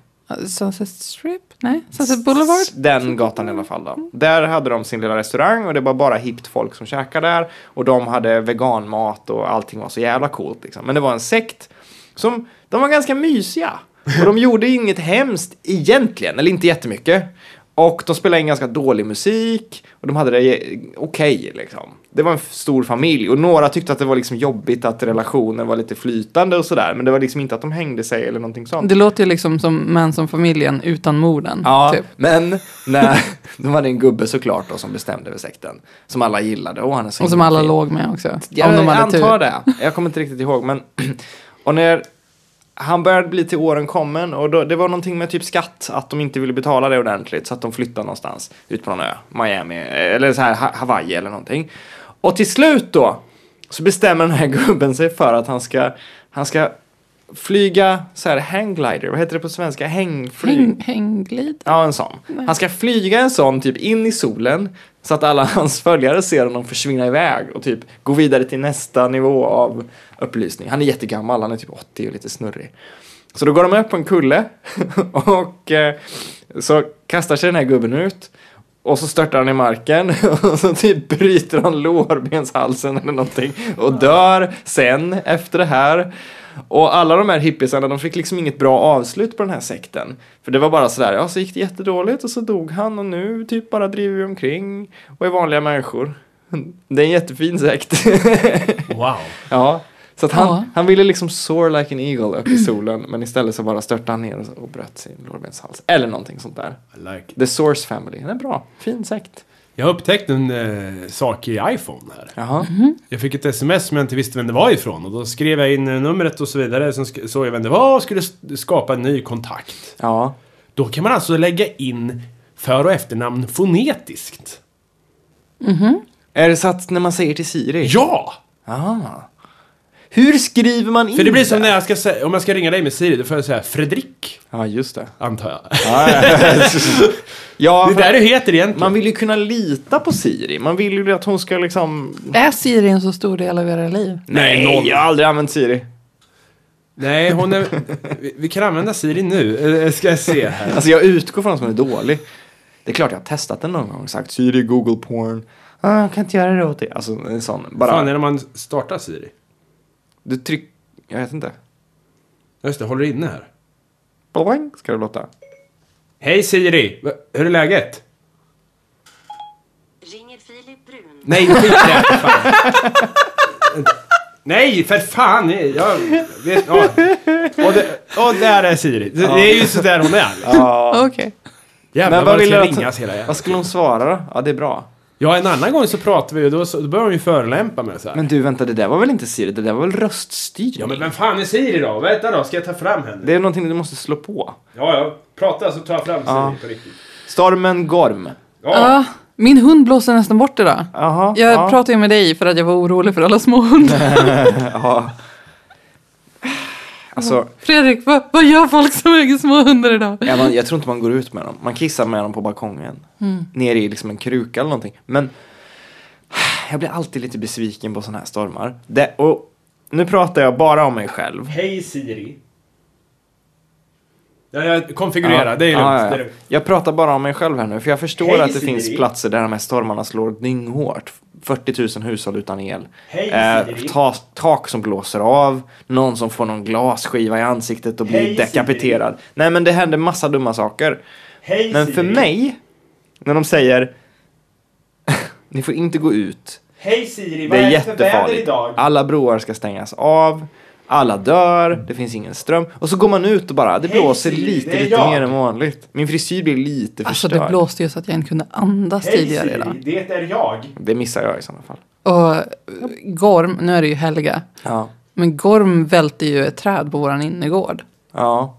Speaker 3: Sunset Strip? Nej, Sunset Alltså, Boulevard?
Speaker 2: Den gatan i alla fall då. Där hade de sin lilla restaurang och det var bara hippt folk som käkade där. Och de hade veganmat och allting var så jävla coolt liksom. Men det var en sekt som, de var ganska mysiga. Och de gjorde inget hemskt egentligen, eller inte jättemycket. Och de spelade in ganska dålig musik och de hade det eh, okej liksom. Det var en f- stor familj och några tyckte att det var liksom jobbigt att relationen var lite flytande och sådär. Men det var liksom inte att de hängde sig eller någonting sånt.
Speaker 3: Det låter ju liksom som Män som familjen utan morden.
Speaker 2: Ja,
Speaker 3: Typ.
Speaker 2: men nej, <laughs> de hade en gubbe såklart då som bestämde över sekten. Som alla gillade. Och, han är så
Speaker 3: Och som
Speaker 2: himla
Speaker 3: alla
Speaker 2: fin.
Speaker 3: låg med också.
Speaker 2: Jag
Speaker 3: om de hade
Speaker 2: antar
Speaker 3: tur.
Speaker 2: det. Jag kommer inte riktigt ihåg. Men, <clears throat> och när han började bli till åren kommen och då, det var någonting med typ skatt. Att de inte ville betala det ordentligt. Så att de flyttade någonstans ut på någon ö. Miami eller så här Ha- Hawaii eller någonting. Och till slut då så bestämmer den här <laughs> gubben sig för att han ska, han ska flyga så här hangglider. Vad heter det på svenska? Hängflyg.
Speaker 3: Häng, hängglid?
Speaker 2: Ja, en sån. Han ska flyga en sån typ in i solen så att alla <laughs> hans följare ser honom försvinna iväg och typ gå vidare till nästa nivå av upplysning. Han är jättegammal, han är typ 80 och lite snurrig. Så då går de upp på en kulle <laughs> och eh, så kastar sig den här gubben ut och så störtar han i marken <laughs> och så typ bryter han lårbenshalsen eller någonting och dör sen efter det här. Och alla de här hippisarna, de fick liksom inget bra avslut på den här sekten. För det var bara sådär, ja så gick det jättedåligt och så dog han och nu typ bara driver vi omkring och är vanliga människor. Det är en jättefin sekt. <laughs>
Speaker 1: Wow.
Speaker 2: ja. Så att han,
Speaker 3: Ja.
Speaker 2: han ville liksom soar like an eagle upp i solen men istället så bara störtade han ner och- och bröt sin lårbenshals. Eller någonting sånt där.
Speaker 1: I like it.
Speaker 2: The Source Family, den är bra. Fin sekt.
Speaker 1: Jag har upptäckt en eh, sak i iPhone här.
Speaker 2: Jaha.
Speaker 1: Jag fick ett sms som jag inte visste vem det var ifrån och då skrev jag in eh, numret och så vidare. Sen sk- såg jag vem det var och skulle s- skapa en ny kontakt.
Speaker 2: Ja.
Speaker 1: Då kan man alltså lägga in för och efternamn fonetiskt.
Speaker 2: Är det så att när man säger till Siri?
Speaker 1: Ja!
Speaker 2: Aha. Hur skriver man in
Speaker 1: För det blir som när jag ska säga, om jag ska ringa dig med Siri, då får jag säga Fredrik,
Speaker 2: Ja, just det.
Speaker 1: antar jag.
Speaker 2: <laughs> Ja,
Speaker 1: Det
Speaker 2: för
Speaker 1: där är det heter egentligen.
Speaker 2: man vill ju kunna lita på Siri. Man vill ju att hon ska liksom...
Speaker 3: Är Siri en så stor del av era liv?
Speaker 1: Nej, noll.
Speaker 2: jag har aldrig använt Siri.
Speaker 1: Nej, hon är... vi- Vi kan använda Siri nu, Eh, ska jag se här.
Speaker 2: Alltså jag utgår från att hon är dålig. Det är klart jag har testat den någon gång och sagt Siri, Google porn. Ah, jag kan inte göra det åt dig. Alltså en sån. Bara,
Speaker 1: fan är det när man startar Siri?
Speaker 2: du tryck... Jag vet inte.
Speaker 1: Ja, Just det, håller inne här.
Speaker 2: Boing, ska det låta.
Speaker 1: Hej Siri! Va- Hur är läget?
Speaker 5: Ringer Filip Brun?
Speaker 1: Nej, skit i det, för fan. Nej, för fan! Jag vet... Ja. Och, det, och där är Siri. Det, det är ju sådär hon är. Liksom.
Speaker 3: Okej.
Speaker 1: Jävlar
Speaker 2: Men
Speaker 1: vad
Speaker 2: vad
Speaker 1: det
Speaker 2: vill
Speaker 1: ska
Speaker 2: du att-
Speaker 1: ringas hela jävla...
Speaker 2: Vad skulle hon svara då? Ja, det är bra.
Speaker 1: Ja, en annan gång så pratade vi och då, så- då började hon ju förolämpa mig så här.
Speaker 2: Men du, vänta, det där var väl inte Siri? Det där var väl röststyrning?
Speaker 1: Ja, men vem fan är Siri då? Vänta då, ska jag ta fram henne?
Speaker 2: Det är någonting du måste slå på.
Speaker 1: Ja, ja. Prata så tar jag fram Siri på riktigt.
Speaker 2: Stormen Gorm.
Speaker 1: Ja.
Speaker 3: Ja, min hund blåser nästan bort idag.
Speaker 2: Jaha.
Speaker 3: Jag
Speaker 2: ja.
Speaker 3: pratade ju med dig för att jag var orolig för alla små hundar.
Speaker 2: Ja. Alltså,
Speaker 3: Fredrik, vad, vad gör folk som äger små hundar idag?
Speaker 2: ja, man, jag tror inte man går ut med dem. Man kissar med dem på balkongen. Ner i liksom en kruka eller någonting. Men jag blir alltid lite besviken på sådana här stormar. Det, och nu pratar jag bara om mig själv.
Speaker 1: Hej Siri. Ja, jag konfigurerar. Det är lugnt.
Speaker 2: Ja, ja, ja.
Speaker 1: Det är lugnt.
Speaker 2: Jag pratar bara om mig själv här nu, för jag förstår
Speaker 1: Hej,
Speaker 2: att det
Speaker 1: Siri.
Speaker 2: finns platser där de här stormarna slår dynghårt. 40 000 hushåll utan el. Eh,
Speaker 1: Hej, Siri.
Speaker 2: ta, tak som blåser av, någon som får någon glasskiva i ansiktet och blir
Speaker 1: Hej,
Speaker 2: dekapiterad. Nej, men det händer massa dumma saker.
Speaker 1: Hej
Speaker 2: Men för
Speaker 1: Siri.
Speaker 2: mig, när de säger <laughs> ni får inte gå ut,
Speaker 1: Hej Siri,
Speaker 2: det
Speaker 1: vad
Speaker 2: är
Speaker 1: är det för väder
Speaker 2: jättefarligt.
Speaker 1: idag?
Speaker 2: Alla broar ska stängas av. Alla dör, det finns ingen ström. Och så går man ut och bara, det
Speaker 1: Hej,
Speaker 2: blåser
Speaker 1: Siri,
Speaker 2: lite,
Speaker 1: det är
Speaker 2: lite
Speaker 1: jag.
Speaker 2: mer än vanligt. Min frisyr blir lite
Speaker 3: Alltså det
Speaker 2: förstörd.
Speaker 3: blåste ju så att jag inte kunde andas
Speaker 1: Hej
Speaker 3: tidigare
Speaker 1: Siri,
Speaker 3: idag.
Speaker 1: det är jag.
Speaker 2: Det missar jag i sådana fall.
Speaker 3: Och eh, Gorm, nu är det ju Helga,
Speaker 2: Ja.
Speaker 3: men Gorm välte ju ett träd på våran innergård.
Speaker 2: ja.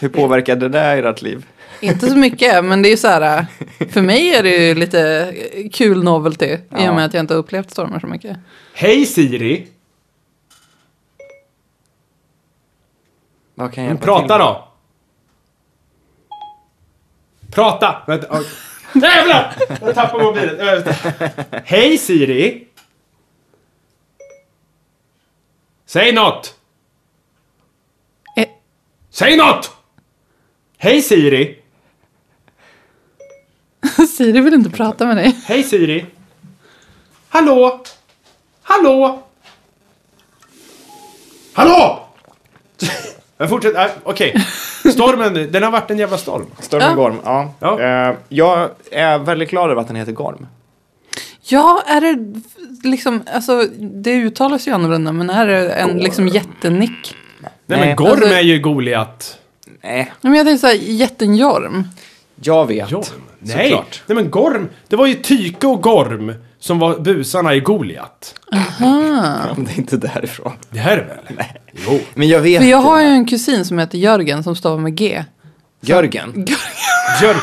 Speaker 2: Hur påverkar det där ert liv?
Speaker 3: Inte
Speaker 1: <laughs>
Speaker 3: så mycket, men det är ju så här, eh, för mig är det ju lite eh, kul novelty i och med att jag inte har upplevt stormar så mycket.
Speaker 1: Hej Siri.
Speaker 2: Vad kan jag hjälpa till
Speaker 1: Prata
Speaker 2: med?
Speaker 1: då. Prata. Vänta. oj. <laughs> Jävlar! Jag tappade mobilen. Ö, vänta. Hej Siri. Säg något.
Speaker 3: Eh,
Speaker 1: Säg något! Hej Siri!
Speaker 3: <laughs> Siri vill inte prata med dig.
Speaker 1: Hej Siri! Hallå! Hallå! Hallå! <laughs> Jag fortsätter, nej, Äh, okej. Stormen, den har varit en jävla storm.
Speaker 2: Stormen
Speaker 3: Ja.
Speaker 2: Gorm, ja.
Speaker 1: Ja.
Speaker 2: Eh, jag är väldigt glad över att den heter Gorm.
Speaker 3: Ja, är det liksom, alltså det uttalas ju annorlunda, men är det en liksom jättenick?
Speaker 1: Nej, men
Speaker 2: Nej,
Speaker 1: Gorm
Speaker 3: alltså-
Speaker 1: är ju Goliat.
Speaker 2: Nej,
Speaker 3: Men jag tänkte såhär, jättenjorm.
Speaker 2: jag vet.
Speaker 1: Jorm? Nej.
Speaker 2: Såklart.
Speaker 1: Nej men Gorm, det var ju Tyke och Gorm som var busarna i Goliat.
Speaker 2: Om <laughs> det är inte därifrån.
Speaker 1: Det här är väl? Nej. Jo.
Speaker 2: Men jag vet
Speaker 3: För jag har ju
Speaker 2: det.
Speaker 3: en kusin som heter Jörgen som stavar med G.
Speaker 2: Jörgen.
Speaker 1: Gör...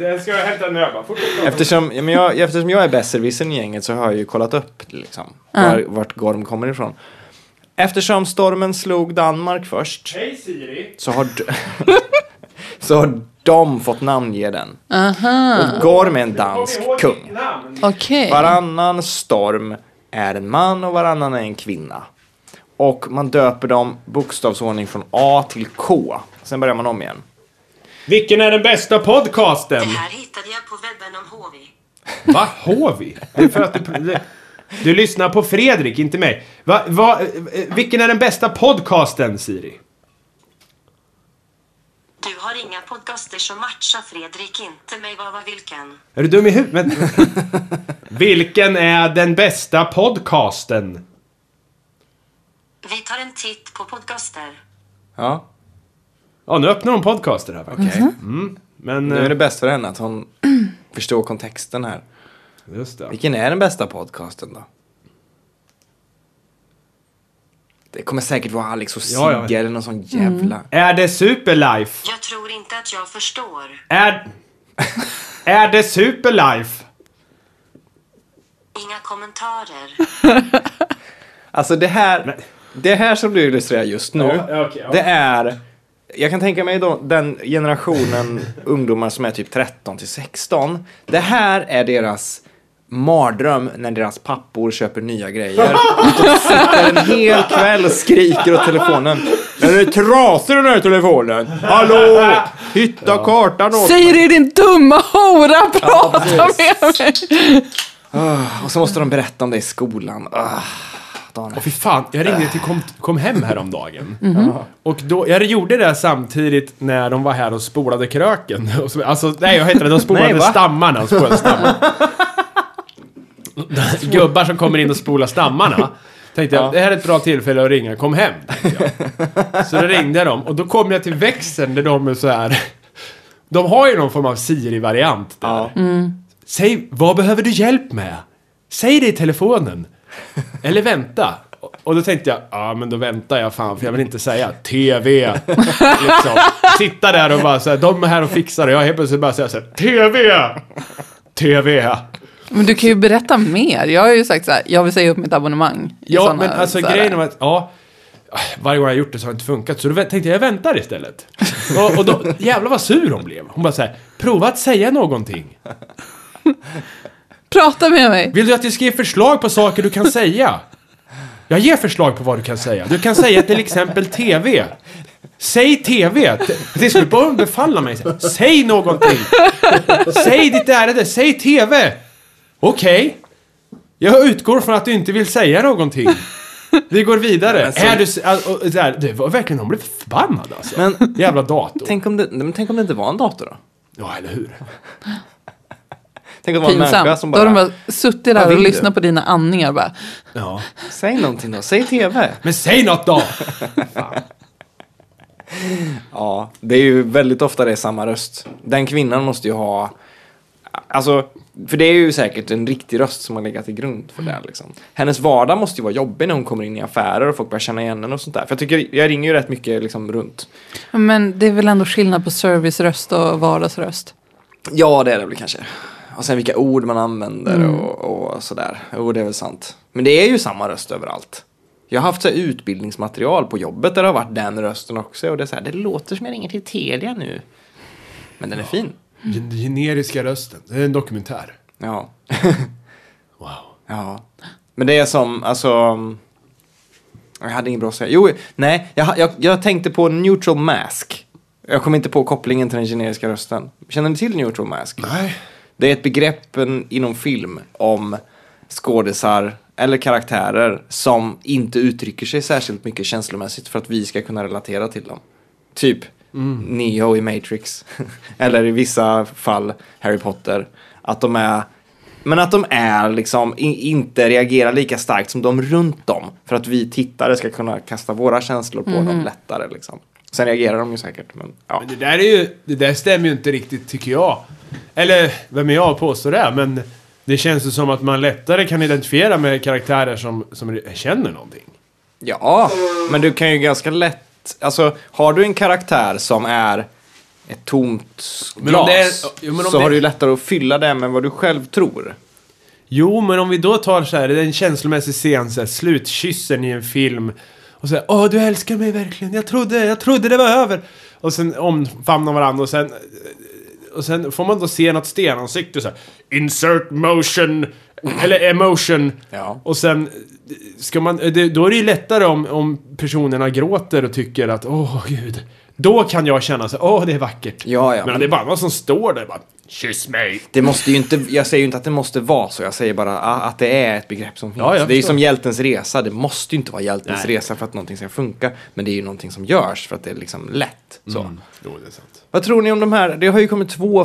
Speaker 1: Jag ska hämta en öl bara.
Speaker 2: Eftersom, ja, men jag, eftersom jag är besserwissern i gänget så har jag ju kollat upp liksom, var, vart Gorm kommer ifrån. Eftersom stormen slog Danmark först
Speaker 1: Hej Siri!
Speaker 2: så har, d- <laughs> så har de fått namnge den. Och Gorm är en dansk kung.
Speaker 1: namn.
Speaker 3: Okej.
Speaker 2: Varannan storm är en man och varannan är en kvinna. Och man döper dem bokstavsordning från A till K. Sen börjar man om igen.
Speaker 1: Vilken är den bästa podcasten?
Speaker 5: Det här hittade jag på webben om HV.
Speaker 1: Va? Hovi? Det är för att du... Du lyssnar på Fredrik, inte mig. Va, va, eh, vilken är den bästa podcasten, Siri?
Speaker 5: Du har inga podcaster som matchar Fredrik, inte mig, vad var vilken?
Speaker 1: Är du dum i huvudet? Men... vilken är den bästa podcasten?
Speaker 5: Vi tar en titt på podcaster.
Speaker 2: Ja,
Speaker 1: Ja, nu öppnar hon podcaster här faktiskt.
Speaker 2: okej.
Speaker 1: Men...
Speaker 2: Nu är det
Speaker 1: eh,
Speaker 2: bäst för henne att hon <clears throat> förstår kontexten här.
Speaker 1: eh, Just det.
Speaker 2: Vilken är den bästa podcasten då? Det kommer säkert vara Alex och Sigge
Speaker 1: Ja, ja.
Speaker 2: eller någon sån jävla...
Speaker 1: Är det Superlife?
Speaker 5: Jag tror inte att jag förstår.
Speaker 1: Är... är det Superlife?
Speaker 5: Inga kommentarer.
Speaker 2: Alltså det här, det här som du illustrerar just nu,
Speaker 1: Ja, okej, ja.
Speaker 2: det är... Jag kan tänka mig då, den generationen <laughs> ungdomar som är typ 13 till 16. Det här är deras mardröm när deras pappor köper nya grejer. De sitter en hel kväll och skriker åt telefonen. Är det trasig den här telefonen? Hallå! Hitta kartan åt
Speaker 3: Siri din dumma hora, prata med mig!
Speaker 2: Och så måste de berätta om det i skolan. Ah, Dan.
Speaker 1: Fy fan, jag ringde till kom, kom hem häromdagen. Och då, jag gjorde det samtidigt när de var här och spolade kröken. <laughs> Och så- Alltså, nej jag heter det, de spolade
Speaker 2: Nej, va?
Speaker 1: stammarna. de Spolade stammarna. Gubbar som kommer in och spolar stammarna. Tänkte jag, det här är ett bra tillfälle att ringa, kom hem. tänkte jag. Så då ringde jag dem och då kom jag till växeln där de är så här. De har ju någon form av Siri-variant där.
Speaker 2: Ja.
Speaker 1: Säg, vad behöver du hjälp med? Säg det i telefonen. Eller vänta. Och då tänkte jag, ja men då väntar jag fan för jag vill inte säga TV. Liksom. Sitta där och bara så här, de är här och fixar det. Jag helt plötsligt bara säger så här, TV! TV!
Speaker 3: Men du kan ju berätta mer. Jag har ju sagt så här, jag vill säga upp mitt abonnemang. i
Speaker 1: Ja,
Speaker 3: såna-
Speaker 1: men alltså
Speaker 3: så här-
Speaker 1: grejen var att, ja. Varje gång jag gjort det så har det inte funkat, så då vä- tänkte jag, jag väntar istället. Och, och då, jävlar vad sur hon blev. Hon bara såhär, prova att säga någonting.
Speaker 3: Prata med mig!
Speaker 1: Vill du att jag ska ge förslag på saker du kan säga? Jag ger förslag på vad du kan säga. Du kan säga till exempel TV. Säg TV. T- Till slut börjar hon befalla mig. så här, Säg någonting. Säg ditt ärende. Säg TV. Okej. Jag utgår från att du inte vill säga någonting. Vi går vidare.
Speaker 2: alltså-
Speaker 1: Är du... s- all- och- och så här, Det var verkligen... Hon blev förbannad alltså.
Speaker 2: Men-
Speaker 1: Jävla dator.
Speaker 2: Tänk, om det, men tänk om det inte var en dator då?
Speaker 1: Ja, eller hur?
Speaker 2: Tänk om det var en människa
Speaker 3: Pinsamt.
Speaker 2: som
Speaker 3: Då har
Speaker 2: bara...
Speaker 3: de bara suttit
Speaker 2: Vad
Speaker 3: där och
Speaker 2: vill du?
Speaker 3: lyssnat på dina andningar bara.
Speaker 1: Ja.
Speaker 2: Säg någonting då, säg TV.
Speaker 1: Men säg något då!
Speaker 2: Ja, det är ju väldigt ofta det är samma röst. Den kvinnan måste ju ha... Alltså, för det är ju säkert en riktig röst som har legat till grund för det. Liksom. Hennes vardag måste ju vara jobbig när hon kommer in i affärer och folk börjar känna igen henne och sånt där. För jag tycker, jag ringer ju rätt mycket liksom runt.
Speaker 3: Men det är väl ändå skillnad på serviceröst och vardagsröst.
Speaker 2: Ja, det är det väl kanske. Och sen vilka ord man använder
Speaker 1: Mm.
Speaker 2: och, och sådär. Jo, det är väl sant. Men det är ju samma röst överallt. Jag har haft så här utbildningsmaterial på jobbet där det har varit den rösten också. Och det är så här, det låter som jag ringer till Telia nu. Men den är fin.
Speaker 1: Den generiska rösten. Det är en dokumentär.
Speaker 2: Ja.
Speaker 1: <laughs> Wow.
Speaker 2: ja. Men det är som, alltså... Jag hade inget bra att säga. Jo, nej, jag, jag, jag tänkte på neutral mask. Jag kommer inte på kopplingen till den generiska rösten. Känner ni till neutral mask?
Speaker 1: Nej.
Speaker 2: Det är ett begrepp en- inom film om skådisar eller karaktärer som inte uttrycker sig särskilt mycket känslomässigt för att vi ska kunna relatera till dem. Typ Neo i Matrix. <laughs> eller i vissa fall Harry Potter. Att de är men att de är liksom i- inte reagerar lika starkt som de runt dem. För att vi tittare ska kunna kasta våra känslor på dem lättare liksom. Sen reagerar de ju säkert men ja.
Speaker 1: Men det där är ju... Det där stämmer ju inte riktigt, tycker jag. Eller, vem är jag att påstå det? Men det känns ju som att man lättare kan identifiera med karaktärer som, som känner någonting.
Speaker 2: Ja, men du kan ju ganska lätt, alltså har du en karaktär som är ett tomt
Speaker 1: Men om
Speaker 2: glas
Speaker 1: det är- jo, men om
Speaker 2: så
Speaker 1: det-
Speaker 2: har du ju lättare att fylla det med vad du själv tror.
Speaker 1: Jo, men om vi då tar så här, det är en känslomässig scen, så här, slutkyssen i en film. Och så här, åh du älskar mig verkligen, jag trodde, jag trodde det var över. Och sen omfamnar varandra och sen... Och sen får man då se något stenansikte så här, insert motion, eller emotion.
Speaker 2: Ja.
Speaker 1: Och sen ska man, det, då är det ju lättare om, om personerna gråter och tycker att åh gud. Då kan jag känna så här, åh det är vackert.
Speaker 2: Ja, ja,
Speaker 1: men,
Speaker 2: men-
Speaker 1: det är bara någon som står där och bara, kyss mig.
Speaker 2: Det måste ju inte, jag säger ju inte att det måste vara så, jag säger bara ah, att det är ett begrepp som finns.
Speaker 1: Ja, jag
Speaker 2: det är ju
Speaker 1: förstår.
Speaker 2: som hjältens resa, det måste ju inte vara hjältens
Speaker 1: Nej.
Speaker 2: resa för att någonting ska funka. Men det är ju någonting som görs för att det är liksom lätt. Så.
Speaker 1: Jo, det är sant.
Speaker 2: Vad tror ni om de här, det har ju kommit två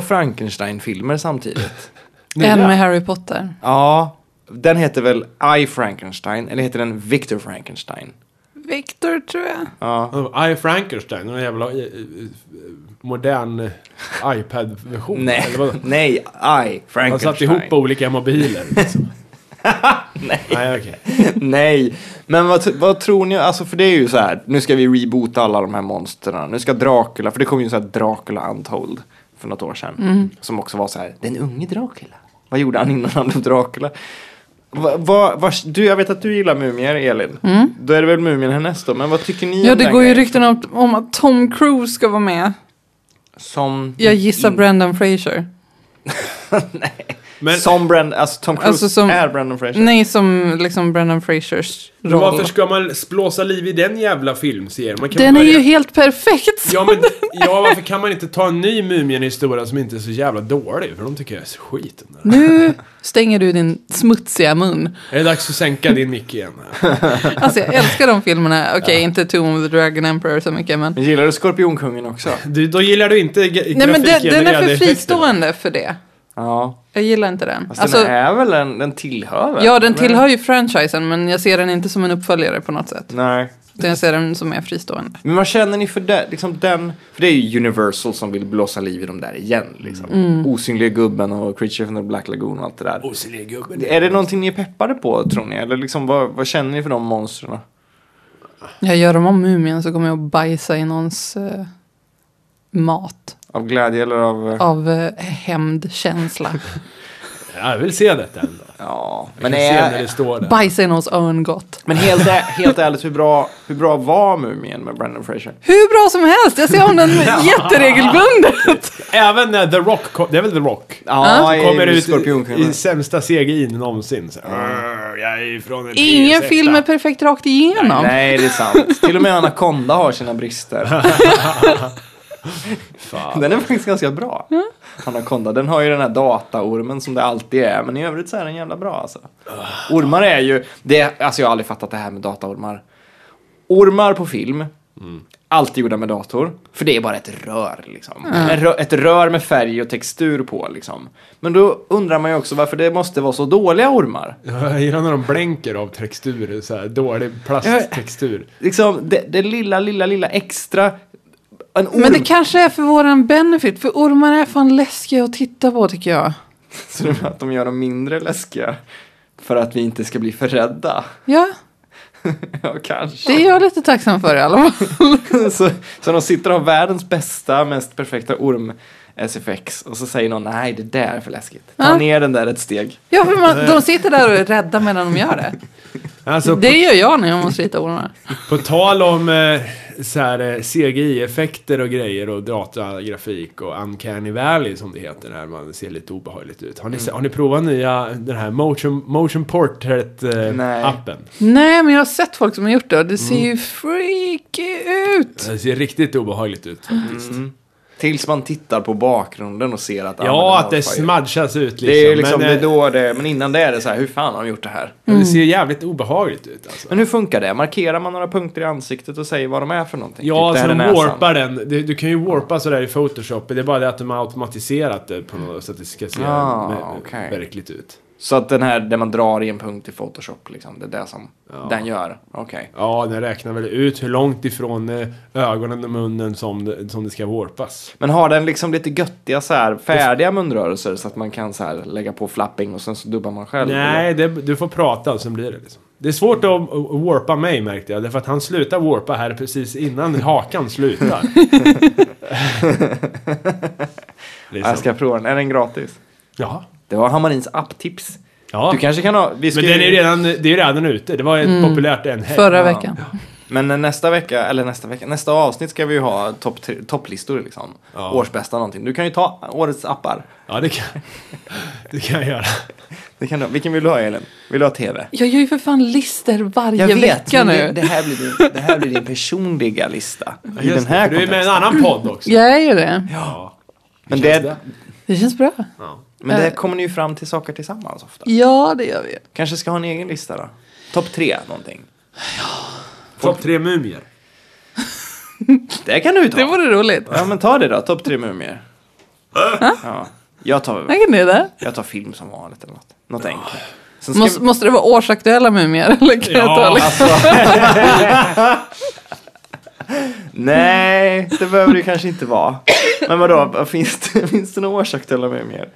Speaker 1: <laughs>
Speaker 2: Frankenstein-filmer samtidigt.
Speaker 3: En med Harry Potter.
Speaker 2: ja, den heter väl I Frankenstein, eller heter den Victor Frankenstein?
Speaker 3: Victor tror jag.
Speaker 1: I Frankenstein, en jävla eh, eh, modern eh, iPad-version.
Speaker 2: Nej,
Speaker 1: Eller vadå?
Speaker 2: nej, I, Frankenstein.
Speaker 1: Han satt ihop olika mobiler. Liksom. Nej. Nej, okej.
Speaker 2: <laughs> nej, men vad, t- vad tror ni, alltså för det är ju så här, nu ska vi reboota alla de här monstren. Nu ska Dracula, för det kom ju en sån här Dracula Untold för något år sedan.
Speaker 3: Mm.
Speaker 2: Som också var så här, den unge Dracula. Vad gjorde han innan han blev Dracula? Va, va, vars- du, jag vet att du gillar mumier, Elin. Då är det väl mumien härnäst då, men vad tycker ni
Speaker 3: Mm. Ja,
Speaker 2: om
Speaker 3: det
Speaker 2: den
Speaker 3: går ju
Speaker 2: grejen?
Speaker 3: rykten om, om att Tom Cruise ska vara med.
Speaker 2: Som,
Speaker 3: Jag
Speaker 2: Mm.
Speaker 3: gissar Brendan Fraser.
Speaker 1: Men
Speaker 2: som Brand, alltså Tom Cruise
Speaker 3: Alltså som-
Speaker 2: är Brandon Fraser.
Speaker 3: Nej, som liksom Brendan Frasers roll.
Speaker 1: varför ska man blåsa liv i den jävla filmserien? Man kan
Speaker 3: Den är
Speaker 1: börja-
Speaker 3: ju helt perfekt!
Speaker 1: Ja, men, ja, varför kan man inte ta en ny Mumien-historia som inte är så jävla dålig? För de tycker jag är så skit. den där.
Speaker 3: Nu stänger du din smutsiga mun.
Speaker 1: Är det dags att sänka din mick igen?
Speaker 3: Alltså jag älskar de filmerna. Okej, inte Tomb of the Dragon Emperor så mycket men.
Speaker 2: Men Gillar du Skorpionkungen också?
Speaker 1: Du, då gillar du inte gra-
Speaker 3: Nej men den, den är
Speaker 1: grafikgenererade
Speaker 3: för
Speaker 1: effekter.
Speaker 3: fristående för det.
Speaker 2: Ja.
Speaker 3: Jag gillar inte den.
Speaker 2: Fast
Speaker 3: Alltså,
Speaker 2: den är väl en, den tillhör väl?
Speaker 3: ja, den tillhör ju franchisen men jag ser den inte som en uppföljare på något sätt.
Speaker 2: Nej.
Speaker 3: Utan jag ser den som är fristående.
Speaker 2: Men vad känner ni för det, liksom den? För det är ju Universal som vill blåsa liv i dem där igen. Liksom.
Speaker 3: Mm.
Speaker 2: Osynliga gubben och Creature from the Black Lagoon och allt det där.
Speaker 1: Osynlig gubbe.
Speaker 2: Är det någonting ni är peppade på tror ni? Eller liksom, vad, vad känner ni för de monstren?
Speaker 3: Jag gör dem om Mumien så kommer jag att bajsa i någons eh, mat.
Speaker 2: Av glädje eller av... eh,
Speaker 3: Av eh, hämndkänsla.
Speaker 1: <laughs> Ja, Jag vill se detta ändå.
Speaker 2: Ja.
Speaker 1: Men
Speaker 2: Men,
Speaker 1: jag kan se när
Speaker 2: är,
Speaker 1: det står där.
Speaker 3: Bajsa i någons örngott.
Speaker 2: men helt, ä- helt ärligt, hur bra, hur bra var Mumien med Brendan Fraser?
Speaker 3: Hur bra som helst! Jag ser
Speaker 2: <laughs>
Speaker 3: om den jätteregelbundet.
Speaker 1: Även när The Rock kom, det är väl The Rock?
Speaker 2: Ja, i
Speaker 1: Kommer ut i,
Speaker 2: Skorpionkungen.
Speaker 1: i sämsta CGI någonsin. Så. här, "Arr, Jag är från en
Speaker 3: Ingen
Speaker 1: PS1."
Speaker 3: film är perfekt rakt igenom.
Speaker 2: Nej, det är sant. Till och med Anaconda har sina <laughs> brister.
Speaker 1: Fan.
Speaker 2: Den är faktiskt ganska bra. Anaconda, den har ju den här dataormen som det alltid är, men i övrigt så är den jävla bra alltså. Ormar är ju, det, alltså jag har aldrig fattat det här med dataormar. Ormar på film, Mm. alltid gjorda med dator, för det är bara ett rör liksom. En rö- ett rör med färg och textur på liksom. Men då undrar man ju också varför det måste vara så dåliga ormar.
Speaker 1: Jag gillar när de blänker av texturer, så här, dålig plasttextur.
Speaker 2: Liksom, det, det lilla, lilla, lilla extra. En orm.
Speaker 3: Men det kanske är för våran benefit, för ormar är fan läskiga att titta på tycker jag.
Speaker 2: <laughs> Så det är att de gör dem mindre läskiga. För att vi inte ska bli för rädda. <laughs>
Speaker 3: Ja,
Speaker 2: Ja, kanske.
Speaker 3: det är jag lite tacksam för i alla fall. <laughs>
Speaker 2: <laughs> så, så de sitter och har världens bästa, mest perfekta orm eh, SFX och så säger någon nej det där är för läskigt. Ta
Speaker 3: Ja.
Speaker 2: ner den där ett steg.
Speaker 3: Ja, för man, de sitter där och är rädda medan de gör det.
Speaker 1: Alltså,
Speaker 3: Det gör jag när jag måste rita ormar.
Speaker 1: på tal om eh, så här eh, CGI-effekter och grejer och datagrafik och Uncanny Valley som det heter när man ser lite obehagligt ut. Har ni,
Speaker 2: Mm.
Speaker 1: se- har ni provat nya den här Motion, motion eh,
Speaker 2: Nej.
Speaker 1: Portrait-appen?
Speaker 3: Nej, men jag har sett folk som har gjort det och det ser
Speaker 2: Mm.
Speaker 3: ju freaky ut.
Speaker 1: Det ser riktigt obehagligt ut faktiskt.
Speaker 2: Tills man tittar på bakgrunden och ser att... ah, men den
Speaker 1: Ja, att
Speaker 2: har
Speaker 1: det
Speaker 2: fan-
Speaker 1: smudgas ut liksom.
Speaker 2: Det är liksom, det
Speaker 1: men,
Speaker 2: är
Speaker 1: eh,
Speaker 2: då det, men innan det är det så här, hur fan har de gjort det här?
Speaker 1: ja, det ser jävligt obehagligt ut alltså.
Speaker 2: Men hur funkar det? Markerar man några punkter i ansiktet och säger vad de är för någonting? Typ,
Speaker 1: Ja,
Speaker 2: det
Speaker 1: så
Speaker 2: här
Speaker 1: de
Speaker 2: är näsan.
Speaker 1: warpar den. Du, du kan ju warpa sådär i Photoshop. Det är bara det att de har automatiserat det på något så att det ska se
Speaker 2: Ah,
Speaker 1: me-
Speaker 2: okej.
Speaker 1: verkligt ut.
Speaker 2: Så att den här, där man drar i en punkt i Photoshop, liksom, det är det som den gör? Okej.
Speaker 1: Ja, den räknar väl ut hur långt ifrån eh, ögonen och munnen som det, som det ska warpas.
Speaker 2: Men har den liksom lite göttiga så här, färdiga munrörelser så att man kan så här, lägga på flapping och sen så dubbar man själv? eller?
Speaker 1: Nej, det, du får prata och sen blir det liksom. Det är svårt att att warpa mig märkte jag, därför att han slutar warpa här precis innan hakan
Speaker 2: <laughs>
Speaker 1: slutar. liksom.
Speaker 2: Jag ska prova den, är den gratis?
Speaker 1: Ja.
Speaker 2: Det var Hammarins apptips.
Speaker 1: ja.
Speaker 2: Du kanske kan ha... Vi ska
Speaker 1: Men den är ju redan, det är ju redan ute, det var ett
Speaker 2: Mm.
Speaker 1: populärt en helg.
Speaker 3: Förra veckan.
Speaker 2: Men nästa vecka, eller nästa vecka, nästa avsnitt ska vi ju ha topp tre- topplistor liksom.
Speaker 1: Ja.
Speaker 2: Årsbästa någonting. Du kan ju ta årets appar.
Speaker 1: Ja, det kan, <laughs> det kan jag göra.
Speaker 2: Det kan du, vilken vill du ha Elin? Vill du ha TV?
Speaker 3: Jag gör ju för fan lister varje vecka
Speaker 2: men
Speaker 3: nu.
Speaker 2: Det, det, här blir din, det här blir din personliga lista. I den
Speaker 1: Just det,
Speaker 2: här
Speaker 1: för du är med i en
Speaker 2: kontexten.
Speaker 1: annan podd också.
Speaker 3: Jag är ju det.
Speaker 1: Ja.
Speaker 2: Men
Speaker 1: Känns
Speaker 2: det,
Speaker 3: Det känns bra.
Speaker 1: Ja.
Speaker 2: men
Speaker 3: Eh.
Speaker 2: det kommer ni ju fram till saker tillsammans ofta.
Speaker 3: Ja, det gör vi.
Speaker 2: Kanske ska ha en egen lista då? Topp tre någonting.
Speaker 1: Topp tre mumier.
Speaker 2: Det kan du ta.
Speaker 3: Det vore roligt.
Speaker 2: Ja men ta det då, topp tre mumier. Ja. Jag tar,
Speaker 3: Tänker ni det?
Speaker 2: jag tar film som vanligt eller något. Något enkelt. Sen ska
Speaker 3: Måste,
Speaker 2: vi, alltså.
Speaker 3: måste det vara årsaktuella mumier? <laughs> Eller kan jag ta
Speaker 1: Ja,
Speaker 3: liksom?
Speaker 2: nej, det behöver det ju kanske inte vara. Men vadå, vad finns det, <laughs> finns det några årsaktuella mumier?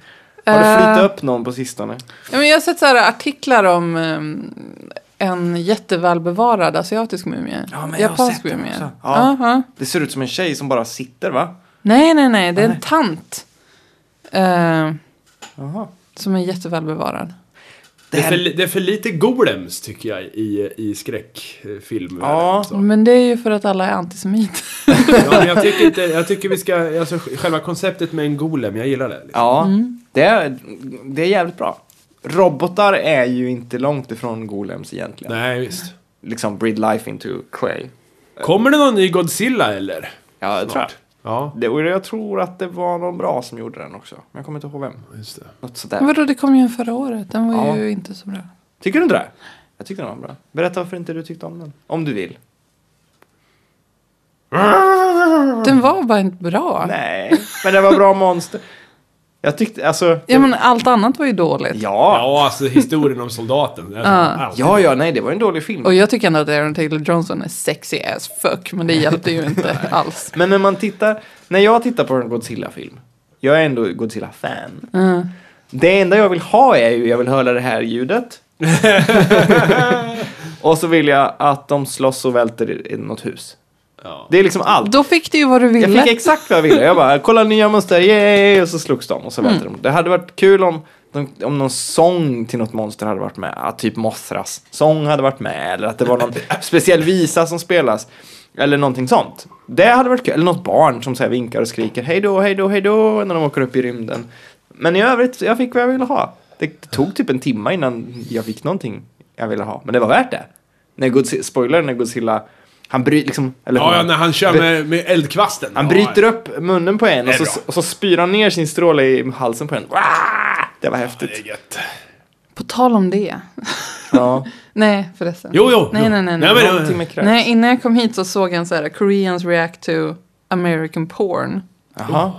Speaker 2: Har det
Speaker 3: Eh.
Speaker 2: flyttat upp någon på sistone?
Speaker 3: Ja, men jag har sett så här artiklar om ehm, en jättevälbevarad asiatisk mumie.
Speaker 2: Ja, men jag har
Speaker 3: Japansk
Speaker 2: sett den
Speaker 3: mumie.
Speaker 2: också. Ja.
Speaker 3: Aha.
Speaker 2: Det ser ut som en tjej som bara sitter va?
Speaker 3: Nej, nej, nej. Det är en tant. eh,
Speaker 2: Jaha.
Speaker 3: som är jättevälbevarad.
Speaker 1: Det är, för, li- det är för lite golems tycker jag i, i skräckfilmer.
Speaker 2: Ja.
Speaker 1: Så.
Speaker 3: Men det är ju för att alla är antisemiter. <laughs>
Speaker 1: ja men jag tycker inte, jag tycker vi ska, alltså själva konceptet med en golem, jag gillar det. Liksom.
Speaker 2: Ja, det, är, det är jävligt bra. Robotar är ju inte långt ifrån golems egentligen.
Speaker 1: Nej visst.
Speaker 2: Liksom breed life into clay.
Speaker 1: Kommer det någon ny Godzilla eller?
Speaker 2: Ja, det tror jag.
Speaker 1: Ja,
Speaker 2: Det, och jag tror att det var någon bra som gjorde den också. Men jag kommer inte ihåg vem.
Speaker 1: just det.
Speaker 2: Något sådär.
Speaker 3: Vadå, det kom ju en förra året. Den var
Speaker 2: Ja.
Speaker 3: ju inte så bra.
Speaker 2: Tycker du inte det? Jag tyckte den var bra. Berätta varför inte du tyckte om den. Om du vill.
Speaker 3: Den var bara inte bra.
Speaker 2: Nej, men det var bra monster. Jag tyckte, alltså...
Speaker 3: Ja, men allt annat var ju dåligt.
Speaker 2: Ja,
Speaker 1: Ja, alltså historien om soldaten. Det är alltså
Speaker 2: ja, ja, nej, det var en dålig film.
Speaker 3: Och jag tycker ändå att Aaron Taylor Johnson är sexy as fuck, men det hjälpte
Speaker 2: <laughs>
Speaker 3: ju inte alls.
Speaker 2: Men när man tittar, när jag tittar på en Godzilla-film, jag är ändå Godzilla-fan. Det enda jag vill ha är ju, jag vill höra det här ljudet. och så vill jag att de slåss och välter i, i något hus.
Speaker 1: Ja.
Speaker 2: Det är liksom allt.
Speaker 3: Då fick du ju vad du
Speaker 2: Jag
Speaker 3: ville.
Speaker 2: fick exakt vad jag ville. Jag bara, kolla nya monster, yay! Och så slogs de och så välter de. Det hade varit kul om, de- om någon sång till något monster hade varit med. Ja, typ Mothras sång hade varit med. Eller att det var någon speciell visa som spelas. Eller någonting sånt. Det hade varit kul. Eller något barn som så här vinkar och skriker hej då, hej då, hej då när de åker upp i rymden. Men i övrigt, jag fick vad jag ville ha. Det tog typ en timme innan jag fick någonting jag ville ha. Men det var värt det. När Godzilla, spoiler, när Godzilla, han bryr liksom... Eller
Speaker 1: Ja, ja, när han kör med, med eldkvasten.
Speaker 2: han
Speaker 1: ja.
Speaker 2: bryter upp munnen på en och
Speaker 1: Det är
Speaker 2: så,
Speaker 1: bra.
Speaker 2: och så spyr han ner sin stråle i halsen på en. Wah! Det
Speaker 1: Ja, det
Speaker 2: var
Speaker 1: är
Speaker 2: häftigt.
Speaker 1: gött.
Speaker 3: På tal om det.
Speaker 2: Ja.
Speaker 3: Nej, förresten.
Speaker 1: Jo, jo.
Speaker 3: Nej,
Speaker 1: jo.
Speaker 3: nej, nej, nej.
Speaker 1: nej, men,
Speaker 2: Någonting med kräks.
Speaker 3: Nej, innan jag kom hit så såg jag en så här Koreans react to American porn.
Speaker 2: Jaha.
Speaker 1: Oh.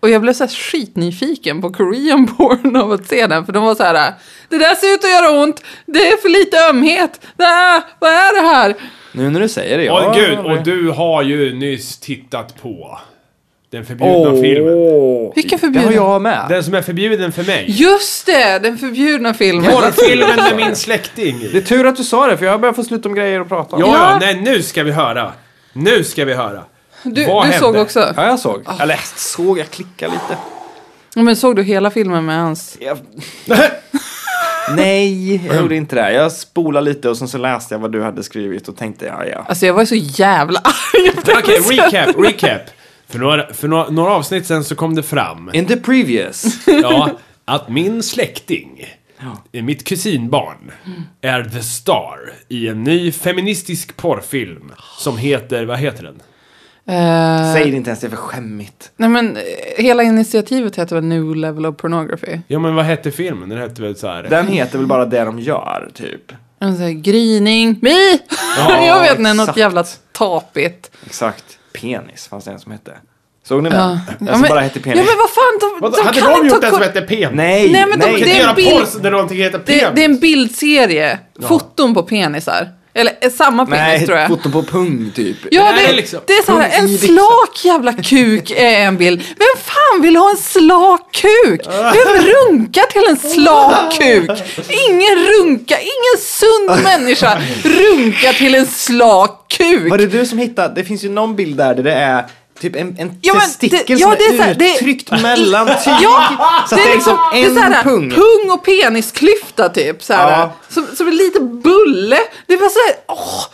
Speaker 3: Och jag blev så här skitnyfiken på Korean <laughs> porn av att se den. För de var så här, det där ser ut att göra ont, det är för lite ömhet, ah, vad är det här?
Speaker 2: Nu när du säger det.
Speaker 1: Åh
Speaker 2: ja,
Speaker 1: gud,
Speaker 2: det-
Speaker 1: och du har ju nyss tittat på den förbjudna
Speaker 2: Åh.
Speaker 1: filmen.
Speaker 3: Vilken
Speaker 2: Det har
Speaker 3: förbjuden?
Speaker 2: jag med.
Speaker 1: Den som är förbjuden för mig.
Speaker 3: Just det, den förbjudna filmen.
Speaker 1: Porrfilmen med min släkting.
Speaker 2: Det är tur att du sa det för jag börjar få slut om grejer att prata om.
Speaker 1: Ja, ja,
Speaker 3: Ja.
Speaker 1: nej nu ska vi höra. Nu ska vi höra.
Speaker 3: Du,
Speaker 1: Vad
Speaker 3: du
Speaker 1: hände?
Speaker 3: såg också.
Speaker 2: Ja, jag såg.
Speaker 1: Ah.
Speaker 2: Eller såg, jag klickade lite.
Speaker 1: <laughs>
Speaker 3: Ja, Men såg du hela filmen med hans?
Speaker 2: Jag... Nej, jag gjorde inte det. Jag spolade lite och sen så läste jag vad du hade skrivit och tänkte ja, ja.
Speaker 3: Alltså jag var ju så jävla <laughs> arg efter det <laughs>
Speaker 1: Okej,
Speaker 3: här besöket.
Speaker 1: recap, recap. För, några, för några, några avsnitt sen så kom det fram
Speaker 2: In
Speaker 1: <laughs>
Speaker 2: the previous.
Speaker 1: ja, att min släkting, eh, mitt kusinbarn, är the star i en ny feministisk porrfilm som heter, vad heter den?
Speaker 3: Eh,
Speaker 2: Säg det inte ens, det är för skämmigt.
Speaker 3: nej men eh, hela initiativet heter väl New Level of Pornography?
Speaker 1: Ja men vad hette filmen? Den hette väl såhär...
Speaker 2: Den heter väl bara det de gör, typ.
Speaker 3: En sån här grining, mi!
Speaker 2: Ja,
Speaker 3: <laughs> jag vet inte, något
Speaker 2: exakt.
Speaker 3: jävla tapigt.
Speaker 2: Exakt. Penis fanns det en som hette. Såg ni den?
Speaker 3: Ja.
Speaker 2: Den som bara hette
Speaker 3: Ja
Speaker 2: penis.
Speaker 3: men vad fan, de,
Speaker 1: Vadå,
Speaker 3: de
Speaker 1: hade
Speaker 3: kan
Speaker 1: de
Speaker 3: inte
Speaker 1: gjort
Speaker 3: ta
Speaker 1: den som
Speaker 3: koll-
Speaker 1: hette Pem?
Speaker 2: Nej,
Speaker 3: Nej, men de-
Speaker 1: De kan
Speaker 3: det
Speaker 1: inte
Speaker 3: är
Speaker 1: göra
Speaker 3: en bild-
Speaker 1: porr där någonting heter
Speaker 3: det,
Speaker 1: Pem!
Speaker 3: det är en bildserie, foton på penisar. Eller eh, samma penis
Speaker 2: Nej,
Speaker 3: tror jag.
Speaker 2: foto på pung, typ.
Speaker 3: Ja,
Speaker 1: Nej,
Speaker 3: det,
Speaker 1: liksom.
Speaker 3: det är så här, en slak jävla kuk är en bild. Vem fan vill ha en slak kuk? Vem runkar till en slak kuk? Ingen runka, ingen sund människa runkar till en slak kuk.
Speaker 2: Var det du som hittade? Det finns ju någon bild där, där det är typ en, en
Speaker 3: Ja, men
Speaker 2: testikel
Speaker 3: det-
Speaker 2: som
Speaker 3: ja, det är
Speaker 2: är,
Speaker 3: så här, det-
Speaker 2: uttryckt mellan tyg.
Speaker 3: <laughs> Ja,
Speaker 2: så att det är liksom
Speaker 3: det är
Speaker 2: en
Speaker 3: så här,
Speaker 2: pung.
Speaker 3: pung och penisklyfta typ. Så här,
Speaker 2: Ja.
Speaker 3: som, som en liten bulle. Det var så här, åh,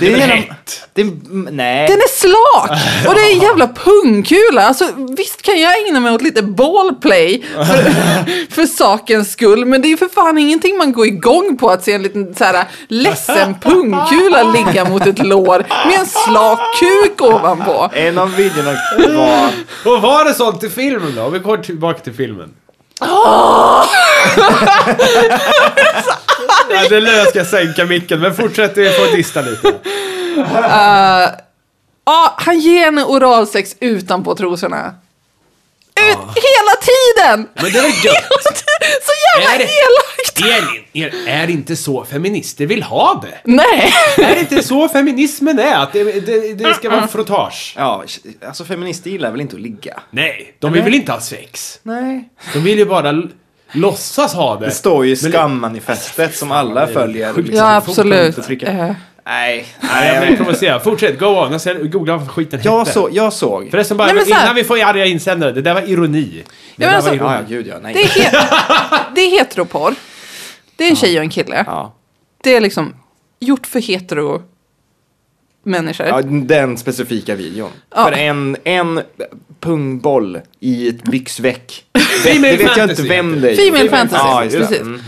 Speaker 2: Det är
Speaker 1: Den är
Speaker 2: genom, det, är- nej.
Speaker 3: den är slak! Och det är en jävla pungkula. Alltså, visst kan jag ägna mig åt lite ballplay
Speaker 1: <laughs>
Speaker 3: för, för sakens skull. Men det är ju för fan ingenting man går igång på att se en liten så här, ledsen pungkula ligga mot ett lår med en slak kuk ovanpå.
Speaker 2: En av videorna var...
Speaker 1: Och var det sånt i filmen då? Om vi går tillbaka till filmen. <laughs> Ja, det är nu jag ska sänka micken, men fortsätt du får dista lite.
Speaker 3: Ja, han ger henne oralsex utanpå trosorna. Ut, Hela
Speaker 1: <laughs>
Speaker 3: tiden!
Speaker 1: Men det är väl gött?
Speaker 3: Så jävla
Speaker 1: Är det-
Speaker 3: elakt!
Speaker 1: Elin, er, är det inte så feminister vill ha det?
Speaker 3: Nej!
Speaker 1: Är det inte så feminismen är? Att det, det, det ska vara frottage?
Speaker 2: Ja, alltså feminister gillar väl inte att ligga?
Speaker 1: Nej, de vill väl inte ha sex?
Speaker 2: Nej.
Speaker 1: De vill ju bara l- låtsas ha det.
Speaker 2: Det står ju i
Speaker 1: Men-
Speaker 2: skammanifestet som alla följer. liksom,
Speaker 3: Ja,
Speaker 2: punkt,
Speaker 3: absolut.
Speaker 2: punkt och trycka.
Speaker 3: Eh.
Speaker 2: Nej.
Speaker 1: Nej, jag
Speaker 2: nej
Speaker 1: blir provocerad. Fortsätt, go on. Jag ser, googla vad skiten
Speaker 2: jag,
Speaker 1: hette.
Speaker 2: så, jag såg...
Speaker 1: Förresten bara,
Speaker 3: Nej, men så här-
Speaker 1: innan vi får arga insändare, det där var ironi. Det
Speaker 3: Ja, men
Speaker 1: där
Speaker 3: alltså-
Speaker 1: var
Speaker 2: Ja, ja,
Speaker 1: ironi.
Speaker 2: gud ja. Nej.
Speaker 3: Det
Speaker 2: <laughs>
Speaker 3: är, het- det är heteroporr. Det är en tjej och en kille.
Speaker 2: Ja.
Speaker 3: Det är liksom gjort för hetero människor.
Speaker 2: Ja, den specifika videon.
Speaker 3: Ja.
Speaker 2: För en, en pungboll i ett
Speaker 3: <laughs>
Speaker 2: byxveck. Det
Speaker 1: Female
Speaker 2: vet jag inte
Speaker 1: fantasy
Speaker 2: vem
Speaker 1: heter
Speaker 2: det är.
Speaker 3: Female fantasy,
Speaker 2: Ja, just det.
Speaker 3: precis.
Speaker 2: Mm.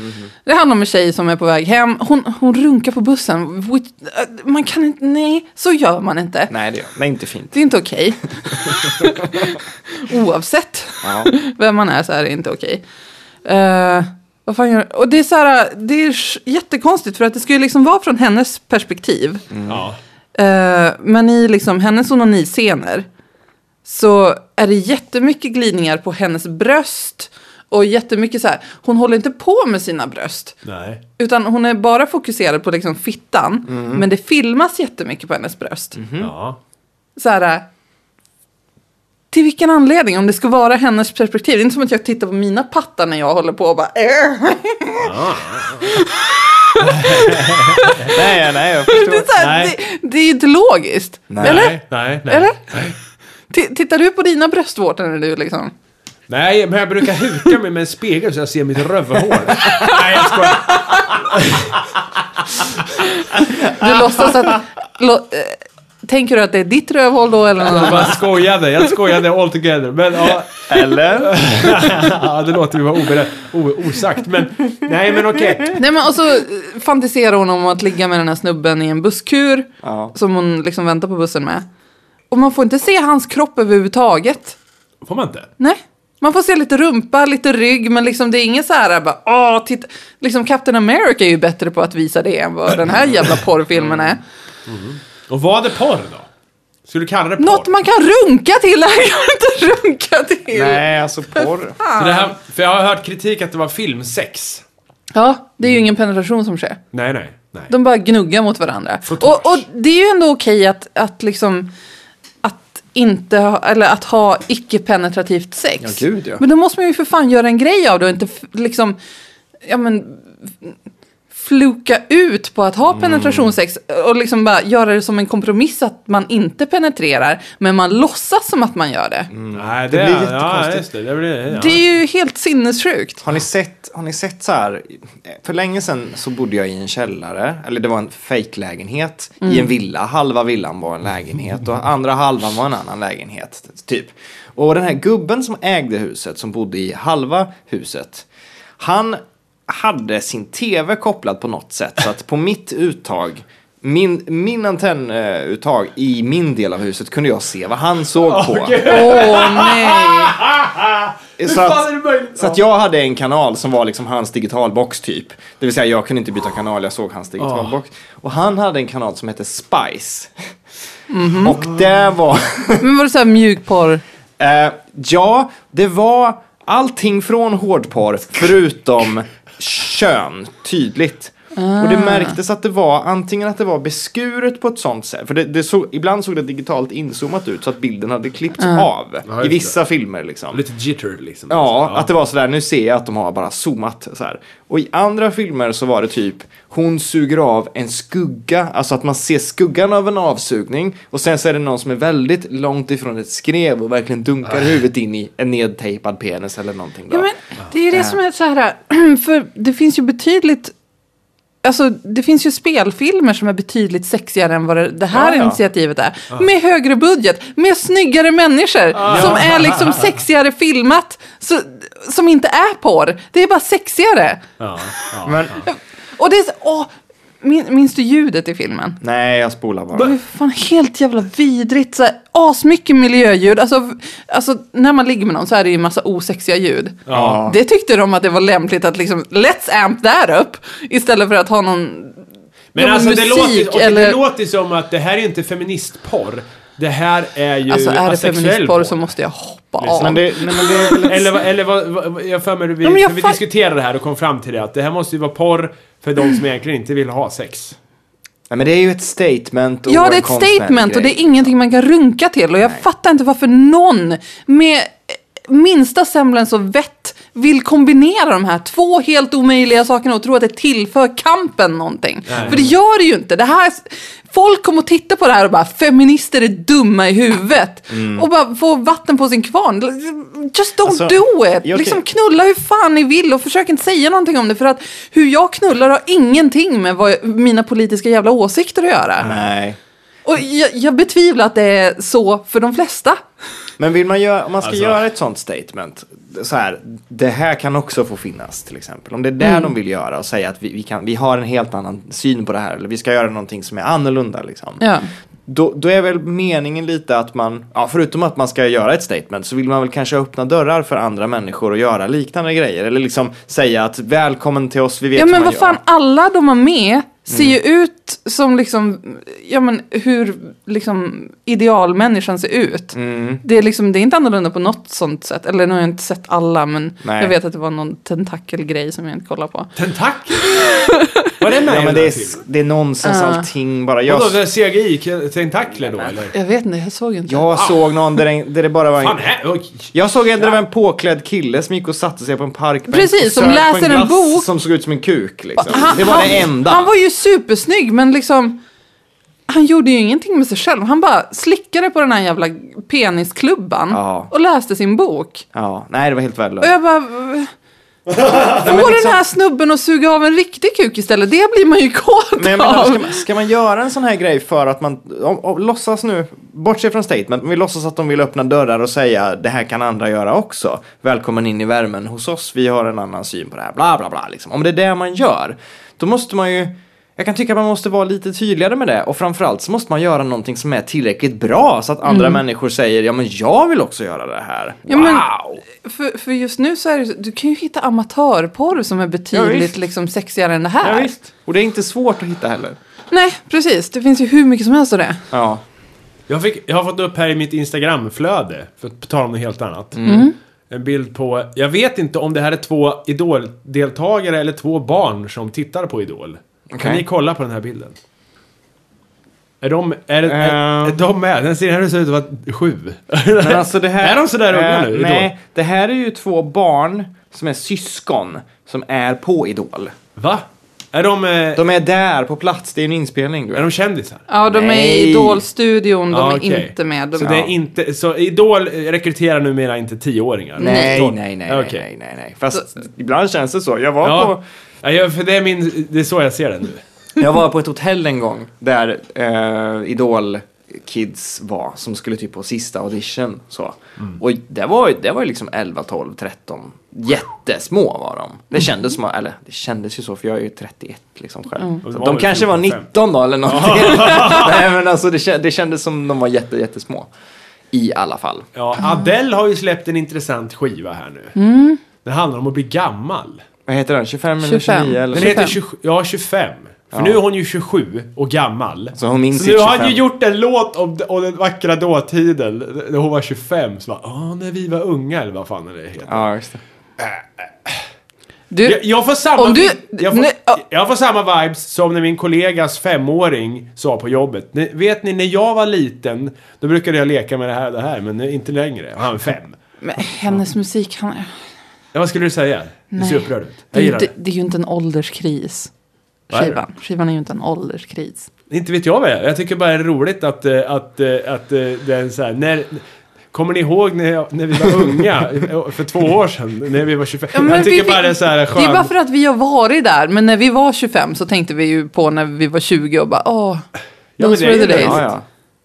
Speaker 3: Det handlar om en tjej som är på väg hem. Hon, hon runkar på bussen. Which- äh, Man kan inte, nej, så gör man inte.
Speaker 2: Nej, det nej, inte fint.
Speaker 3: Det är inte
Speaker 2: <laughs>
Speaker 3: okej. Oavsett
Speaker 2: Ja.
Speaker 3: vem man är så är det inte okej. Eh, vad fan gör Och det är så här, det är sj- jättekonstigt för att det ska ju liksom vara från hennes perspektiv.
Speaker 1: Ja.
Speaker 3: Eh, men i liksom hennes onaniscener så är det jättemycket glidningar på hennes bröst. Och jättemycket så här, hon håller inte på med sina bröst.
Speaker 1: Nej.
Speaker 3: Utan hon är bara fokuserad på liksom fittan. Men det filmas jättemycket på hennes bröst.
Speaker 1: Ja.
Speaker 3: Så här, eh, till vilken anledning? Om det ska vara hennes perspektiv. Det är inte som att jag tittar på mina pattar när jag håller på och bara... "Äh."
Speaker 2: Nej, nej, jag
Speaker 3: <laughs> Det
Speaker 2: förstår.
Speaker 3: är, så här,
Speaker 1: Nej.
Speaker 3: det, det är ju inte logiskt.
Speaker 2: Nej.
Speaker 3: Eller?
Speaker 1: Nej, nej, nej.
Speaker 3: Äh? Eller? T- tittar du på dina bröstvårtor när du liksom...
Speaker 1: Nej, men jag brukar huka mig med en spegel så jag ser mitt
Speaker 3: <laughs>
Speaker 1: rövhål. nej, jag skojar.
Speaker 3: <laughs> Du låtsas att... Lo, eh, tänker du att det är ditt rövhål då eller någon
Speaker 1: Jag
Speaker 3: annan?
Speaker 1: bara skojade. Jag skojade all together. Men ja,
Speaker 2: Eller?
Speaker 3: <laughs>
Speaker 1: ja, det låter ju vara oberä- o- osagt. Men nej, men okej.
Speaker 3: <laughs> Nej men och så eh, fantiserar hon om att ligga med den här snubben i en busskur.
Speaker 2: Ja.
Speaker 3: Som hon liksom väntar på bussen med. Och man får inte se hans kropp överhuvudtaget.
Speaker 1: Får man inte?
Speaker 3: Nej. Man får se lite rumpa, lite rygg, men liksom det är inget så här bara, åh, titta. Liksom Captain America är ju bättre på att visa det än vad den här jävla porrfilmen är.
Speaker 1: Och vad är porr då? Skulle du kalla det porr?
Speaker 3: Något man kan runka till, han kan inte runka till.
Speaker 2: Nej, alltså porr.
Speaker 1: Så det här, för jag har hört kritik att det var filmsex.
Speaker 3: Ja, det är ju ingen penetration som sker.
Speaker 1: Nej, nej, nej.
Speaker 3: De bara gnuggar mot varandra.
Speaker 1: Frottage.
Speaker 3: Och, och det är ju ändå okej att, att liksom att inte ha, eller att ha icke-penetrativt sex.
Speaker 2: Ja, gud, ja.
Speaker 3: Men då måste man ju för fan göra en grej av det och inte f- liksom, ja men f- fluka ut på att
Speaker 2: Mm.
Speaker 3: ha penetrationssex och liksom bara göra det som en kompromiss att man inte penetrerar men man låtsas som att man gör det.
Speaker 2: Mm.
Speaker 1: Nej, det,
Speaker 2: Det blir
Speaker 1: Ja,
Speaker 2: jättekonstigt.
Speaker 1: just det. Det blir... Ja.
Speaker 3: Det är ju helt sinnessjukt.
Speaker 2: Har ni sett, har ni sett så här, för länge sedan så bodde jag i en källare, eller det var en fejklägenhet i en villa. Halva villan var en lägenhet och andra halvan var en annan lägenhet. Typ. Och den här gubben som ägde huset, som bodde i halva huset, han hade sin tv kopplad på något sätt. Så att på mitt uttag, min, min antennuttag i min del av huset kunde jag se vad han såg på.
Speaker 3: Åh nej.
Speaker 2: Så
Speaker 1: fan är det möjligt?
Speaker 2: att, så att jag hade en kanal som var liksom hans digitalbox typ. Det vill säga jag kunde inte byta kanal, jag såg hans digitalbox.
Speaker 1: Ah.
Speaker 2: Och han hade en kanal som hette Spice.
Speaker 1: Mhm.
Speaker 2: Och det var... <laughs>
Speaker 3: Men var det så här mjukporr?
Speaker 2: Eh, ja, det var allting från hårdporr förutom kön, tydligt. Och
Speaker 1: Ah.
Speaker 2: det märktes att det var antingen att det var beskuret på ett sånt sätt, för det, det såg, ibland såg det digitalt inzoomat ut så att bilden hade klippts
Speaker 1: Ah.
Speaker 2: av
Speaker 1: just
Speaker 2: i
Speaker 1: det.
Speaker 2: vissa filmer liksom.
Speaker 1: Lite jitter liksom.
Speaker 2: Alltså, Ja, att det var sådär, nu ser jag att de har bara zoomat så här. Och i andra filmer så var det typ, hon suger av en skugga, alltså att man ser skuggan av en avsugning och sen så är det någon som är väldigt långt ifrån ett skrev och verkligen dunkar huvudet in i en nedtejpad penis eller någonting. Då.
Speaker 3: Ja, men det är ju
Speaker 2: Äh.
Speaker 3: det som är så här, <clears throat> för det finns ju betydligt Alltså det finns ju spelfilmer som är betydligt sexigare än vad det, det här
Speaker 2: Ja, ja.
Speaker 3: initiativet är. Med högre budget, med snyggare människor som
Speaker 2: <laughs>
Speaker 3: är liksom sexigare filmat. Så, som inte är porr, det är bara sexigare.
Speaker 1: Ja, ja.
Speaker 2: Men-
Speaker 3: Och det är så, åh, min, minns du ljudet i filmen?
Speaker 2: Nej, jag spolar
Speaker 3: Det var
Speaker 2: bara.
Speaker 3: ju fan helt jävla vidrigt. Så här, asmycket miljöljud. Alltså, v- alltså när man ligger med någon så är det ju en massa osexiga ljud.
Speaker 2: Ja.
Speaker 3: Det tyckte de att det var lämpligt att liksom let's amp där upp. Istället för att ha någon...
Speaker 1: Men
Speaker 3: ja,
Speaker 1: alltså det
Speaker 3: musik
Speaker 1: låter, och det
Speaker 3: eller-
Speaker 1: låter som att det här är inte feministporr. Det här är ju
Speaker 3: Alltså är det
Speaker 1: asexuell Liksom,
Speaker 3: feministporr så måste jag hoppa av.
Speaker 2: Men det, nej, men det är väl
Speaker 1: Eller, vad- eller vad, vad, jag har för mig vi,
Speaker 3: Ja, men jag
Speaker 1: för vi
Speaker 3: fa-
Speaker 1: diskuterade det här och kom fram till det att det här måste ju vara porr för de som egentligen inte vill ha sex.
Speaker 2: Nej, men det är ju ett statement. Och
Speaker 3: Ja, det
Speaker 2: en
Speaker 3: är ett
Speaker 2: konstnärlig
Speaker 3: statement och det
Speaker 2: grej.
Speaker 3: är ingenting man kan runka till. Och jag fattar inte varför någon med eh, minsta semblans av vett vill kombinera de här två helt omöjliga sakerna och tro att det tillför kampen någonting. För det gör det ju inte. Det här, folk kommer att titta på det här och bara feminister är dumma i huvudet. Och bara få vatten på sin kvarn. Just don't
Speaker 2: Mm. Alltså,
Speaker 3: do it.
Speaker 2: jag-
Speaker 3: Liksom knulla hur fan ni vill och försök inte säga någonting om det. För att hur jag knullar har ingenting med vad, mina politiska jävla åsikter att göra.
Speaker 2: Nej.
Speaker 3: Och jag, jag betvivlar att det är så för de flesta.
Speaker 2: Men vill man göra, om man ska
Speaker 1: Alltså-
Speaker 2: göra ett sånt statement, så här, det här kan också få finnas till exempel. Om det är det
Speaker 3: Mm.
Speaker 2: de vill göra och säga att vi, vi, kan, vi har en helt annan syn på det här, eller vi ska göra någonting som är annorlunda. Liksom.
Speaker 3: Ja.
Speaker 2: Då, då är väl meningen lite att man, ja, förutom att man ska göra ett statement, så vill man väl kanske öppna dörrar för andra människor att göra liknande grejer. Eller liksom säga att välkommen till oss, vi vet
Speaker 3: Ja
Speaker 2: hur
Speaker 3: men
Speaker 2: man
Speaker 3: vad
Speaker 2: gör. Mm.
Speaker 3: fan, alla de har med ser ju ut som liksom, ja men hur liksom idealmänniskan ser ut.
Speaker 2: Mm.
Speaker 3: Det, är liksom, det är inte annorlunda på något sånt sätt. Eller nu har jag inte sett alla men
Speaker 2: Nej.
Speaker 3: jag vet att det var någon tentakelgrej som jag inte kollade på.
Speaker 1: Tentakel? Vad är det med
Speaker 2: Ja,
Speaker 1: i den
Speaker 2: men det,
Speaker 1: här
Speaker 2: är,
Speaker 1: filmen?
Speaker 2: det är nonsens allting bara. Jag,
Speaker 1: Vadå, det är CGI-tentakler då eller?
Speaker 3: Jag vet inte, jag såg inte.
Speaker 2: jag såg någon där, det- där det bara var en
Speaker 1: Ah. Fan, här, oj.
Speaker 2: Jag såg en där det var en påklädd kille som gick och satte sig på en parkbänk
Speaker 3: Precis,
Speaker 2: och
Speaker 3: som
Speaker 2: sög på
Speaker 3: läser en
Speaker 2: glass
Speaker 3: bok.
Speaker 2: Som såg ut som en kuk liksom. det var det enda.
Speaker 3: Han var ju supersnygg men liksom han gjorde ju ingenting med sig själv. Han bara slickade på den här jävla penisklubban
Speaker 2: Ja.
Speaker 3: och läste sin bok.
Speaker 2: Ja, nej det var helt
Speaker 3: Och
Speaker 2: värdelöst.
Speaker 1: <laughs>
Speaker 3: jag bara... v- Få
Speaker 1: liksom-
Speaker 3: den här snubben och suga av en riktig kuk istället. Det blir man ju kåt
Speaker 2: Men jag menar,
Speaker 3: av.
Speaker 1: alltså,
Speaker 2: ska, man, ska man göra en sån här grej för att man, om, om, låtsas nu, bortse från statement, men vi låtsas att de vill öppna dörrar och säga det här kan andra göra också. Välkommen in i värmen hos oss, vi har en annan syn på det här, bla bla bla. Liksom. Om det är det man gör, då måste man ju, jag kan tycka att man måste vara lite tydligare med det och framförallt så måste man göra någonting som är tillräckligt bra så att andra människor säger ja men jag vill också göra det här.
Speaker 3: Ja,
Speaker 2: wow!
Speaker 3: men- För, för just nu så är det så- Du kan ju hitta amatörporr som är
Speaker 2: Ja,
Speaker 3: betydligt
Speaker 2: visst.
Speaker 3: liksom sexigare än det
Speaker 2: Ja,
Speaker 3: här.
Speaker 2: visst. Och det är inte svårt att hitta heller.
Speaker 3: Nej, precis. Det finns ju hur mycket som helst av det.
Speaker 2: Ja.
Speaker 1: Jag, fick, jag har fått upp här i mitt Instagramflöde, för att tala om något helt annat.
Speaker 3: Mm.
Speaker 1: En bild på, jag vet inte om det här är två Idol-deltagare eller två barn som tittar på Idol. Kan
Speaker 2: Okej.
Speaker 1: ni kolla på den här bilden? Är de, är, det- är,
Speaker 2: Eh.
Speaker 1: är de med? Den ser här ut att vara sju.
Speaker 2: Men alltså det
Speaker 1: <laughs>
Speaker 2: här,
Speaker 1: Är de sådär unga
Speaker 2: Eh,
Speaker 1: nu, Idol?
Speaker 2: Nej, det här är ju två barn som är syskon som är på Idol.
Speaker 1: Va? Är de, eh,
Speaker 2: De är där på plats, det är en inspelning. Du
Speaker 1: är
Speaker 2: vet.
Speaker 1: de kändisar?
Speaker 3: Ja, de är
Speaker 2: Nej.
Speaker 3: i Idol-studion, de
Speaker 1: Ja,
Speaker 3: är
Speaker 1: Ah, okej.
Speaker 3: inte med. De,
Speaker 1: Så, det är inte, så Idol rekryterar numera inte tioåringar?
Speaker 2: Nej, nej,
Speaker 1: Tolv-
Speaker 2: nej, nej,
Speaker 1: Okej.
Speaker 2: nej, nej, nej. Fast ibland känns det så. Jag var,
Speaker 1: Ja, ja jag, för det är, min, det är så jag ser det nu.
Speaker 2: på, jag var på ett hotell en gång där eh, Idol Kids var som skulle typ på sista audition. Så. Och det var ju det var ju liksom 11, 12, 13. Jättesmå var de. Det kändes som, eller det kändes ju så för jag är ju 31 liksom själv.
Speaker 1: Och de
Speaker 2: Så de
Speaker 1: var väl
Speaker 2: kanske var
Speaker 1: 14,
Speaker 2: 19 då eller någonting. <laughs> nej men alltså det, kän- det kändes som de var jätte, jättesmå. I alla fall.
Speaker 1: Ja,
Speaker 3: Ah.
Speaker 1: Adele har ju släppt en intressant skiva här nu.
Speaker 3: Mm.
Speaker 1: Det handlar om att bli gammal.
Speaker 2: Vad heter den? 25, eller
Speaker 3: 25.
Speaker 2: 29 eller
Speaker 1: Den
Speaker 3: 25.
Speaker 1: heter 27, ja, 25. För
Speaker 2: Ja.
Speaker 1: nu är hon ju 27 och gammal.
Speaker 2: Så hon minns
Speaker 1: Så
Speaker 2: sitt
Speaker 1: nu har
Speaker 2: 25.
Speaker 1: han ju gjort en låt om, om den vackra dåtiden. När hon var 25 så bara, åh, när vi var unga eller vad fan är det heter.
Speaker 2: Ja, just det.
Speaker 3: du,
Speaker 1: Jag, jag får samma...
Speaker 3: Om du-
Speaker 1: jag, får,
Speaker 3: nej, ja.
Speaker 1: jag får samma vibes som när min kollegas femåring sa på jobbet. Ni, vet ni, när jag var liten, då brukade jag leka med det här och det här, men nu, inte längre. Och Han är fem.
Speaker 3: men hennes musik, han,
Speaker 1: Ja, vad skulle du säga? Du ser
Speaker 3: Nej.
Speaker 1: upprörd ut. Jag
Speaker 3: det, är ju
Speaker 1: gillar
Speaker 3: inte,
Speaker 1: det.
Speaker 3: det är ju inte en ålderskris.
Speaker 1: Vad är det?
Speaker 3: Skivan. Skivan är ju inte en ålderskris.
Speaker 1: Inte vet jag vad det är. Jag tycker bara det är roligt att, eh, att, eh, att eh, det är så här, när, Kommer ni ihåg när, jag, när vi var unga? För två år sedan, när vi var 25? jag tycker bara det är så här skönt.
Speaker 3: Det är bara för att vi har varit där. Men när vi var 25 så tänkte vi ju på när vi var 20 och bara åh,
Speaker 1: men
Speaker 3: those
Speaker 1: det är
Speaker 3: were the
Speaker 1: ju det.
Speaker 3: days.
Speaker 2: Ja, ja.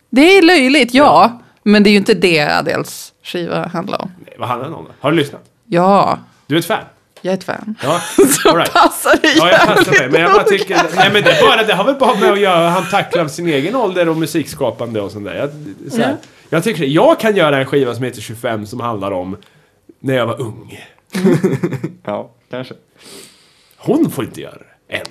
Speaker 3: Det är löjligt, ja. Men det är ju inte det Adels skiva handlar om.
Speaker 1: Vad handlar det om då? Har du lyssnat?
Speaker 3: Ja,
Speaker 1: Du är ett fan?
Speaker 3: jag är ett fan.
Speaker 1: Ja,
Speaker 3: <laughs> Så
Speaker 1: all right.
Speaker 3: passar det
Speaker 1: Ja, jag passar
Speaker 3: jävligt
Speaker 1: mig. Men jag bara tycker...
Speaker 3: noga.
Speaker 1: Nej, men det, är bara, det har väl bara med att göra han tacklar sin egen ålder och musikskapande och sånt där. Jag, så här,
Speaker 3: Ja.
Speaker 1: jag tycker jag kan göra en skiva som heter 25 som handlar om när jag var ung.
Speaker 2: ja, kanske.
Speaker 1: Hon får inte göra det. Än.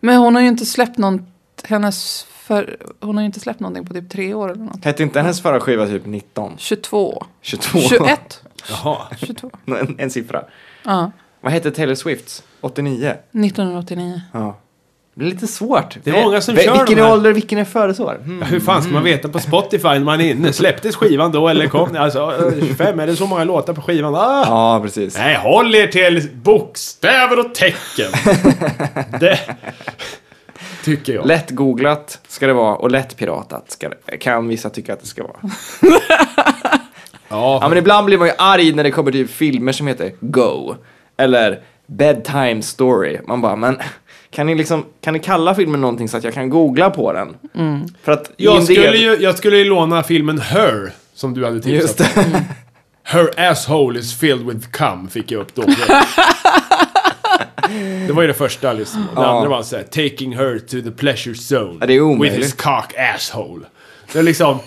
Speaker 3: Men hon har ju inte släppt någon, hennes för, hon har ju inte släppt någonting på typ tre år eller något.
Speaker 2: Hette inte hennes förra skiva typ 19?
Speaker 3: 22.
Speaker 2: 22?
Speaker 3: 21.
Speaker 1: Jaha.
Speaker 3: 22.
Speaker 2: <laughs> en, en siffra.
Speaker 3: Ja,
Speaker 2: Vad hette Taylor Swifts? 89?
Speaker 3: 1989.
Speaker 2: Ja. Det är lite svårt.
Speaker 1: Det är många som
Speaker 2: Vil-
Speaker 1: kör
Speaker 2: Vilken
Speaker 1: de
Speaker 2: är
Speaker 1: här.
Speaker 2: ålder, vilken är födelseår? Mm.
Speaker 1: Hur fan ska man veta på Spotify när man är inne? Släpptes skivan då eller kom Alltså, eh, 25, är det så många låtar på skivan? Ah!
Speaker 2: Ja, precis.
Speaker 1: Nej, håll er till bokstäver och tecken. det tycker jag.
Speaker 2: Lätt googlat ska det vara och lätt piratat ska det, kan vissa tycka att
Speaker 1: <laughs>
Speaker 2: det ska vara. Ja, men ibland blir man ju arg när det kommer typ filmer som heter Go eller Bedtime Story. Man bara, men kan ni, liksom, kan ni kalla filmen någonting så att jag kan googla på den?
Speaker 3: Mm.
Speaker 2: För att i
Speaker 1: jag,
Speaker 2: en del-
Speaker 1: skulle ju, jag skulle ju låna filmen Her, som du hade tipsat Mm.
Speaker 2: Just det.
Speaker 1: Her asshole is filled with cum, fick jag upp då. det var ju det första jag lyssnade på. Det
Speaker 2: Ja.
Speaker 1: andra var såhär, taking her to the pleasure zone.
Speaker 2: Ja, det är omöjligt.
Speaker 1: With his cock asshole. Det är liksom...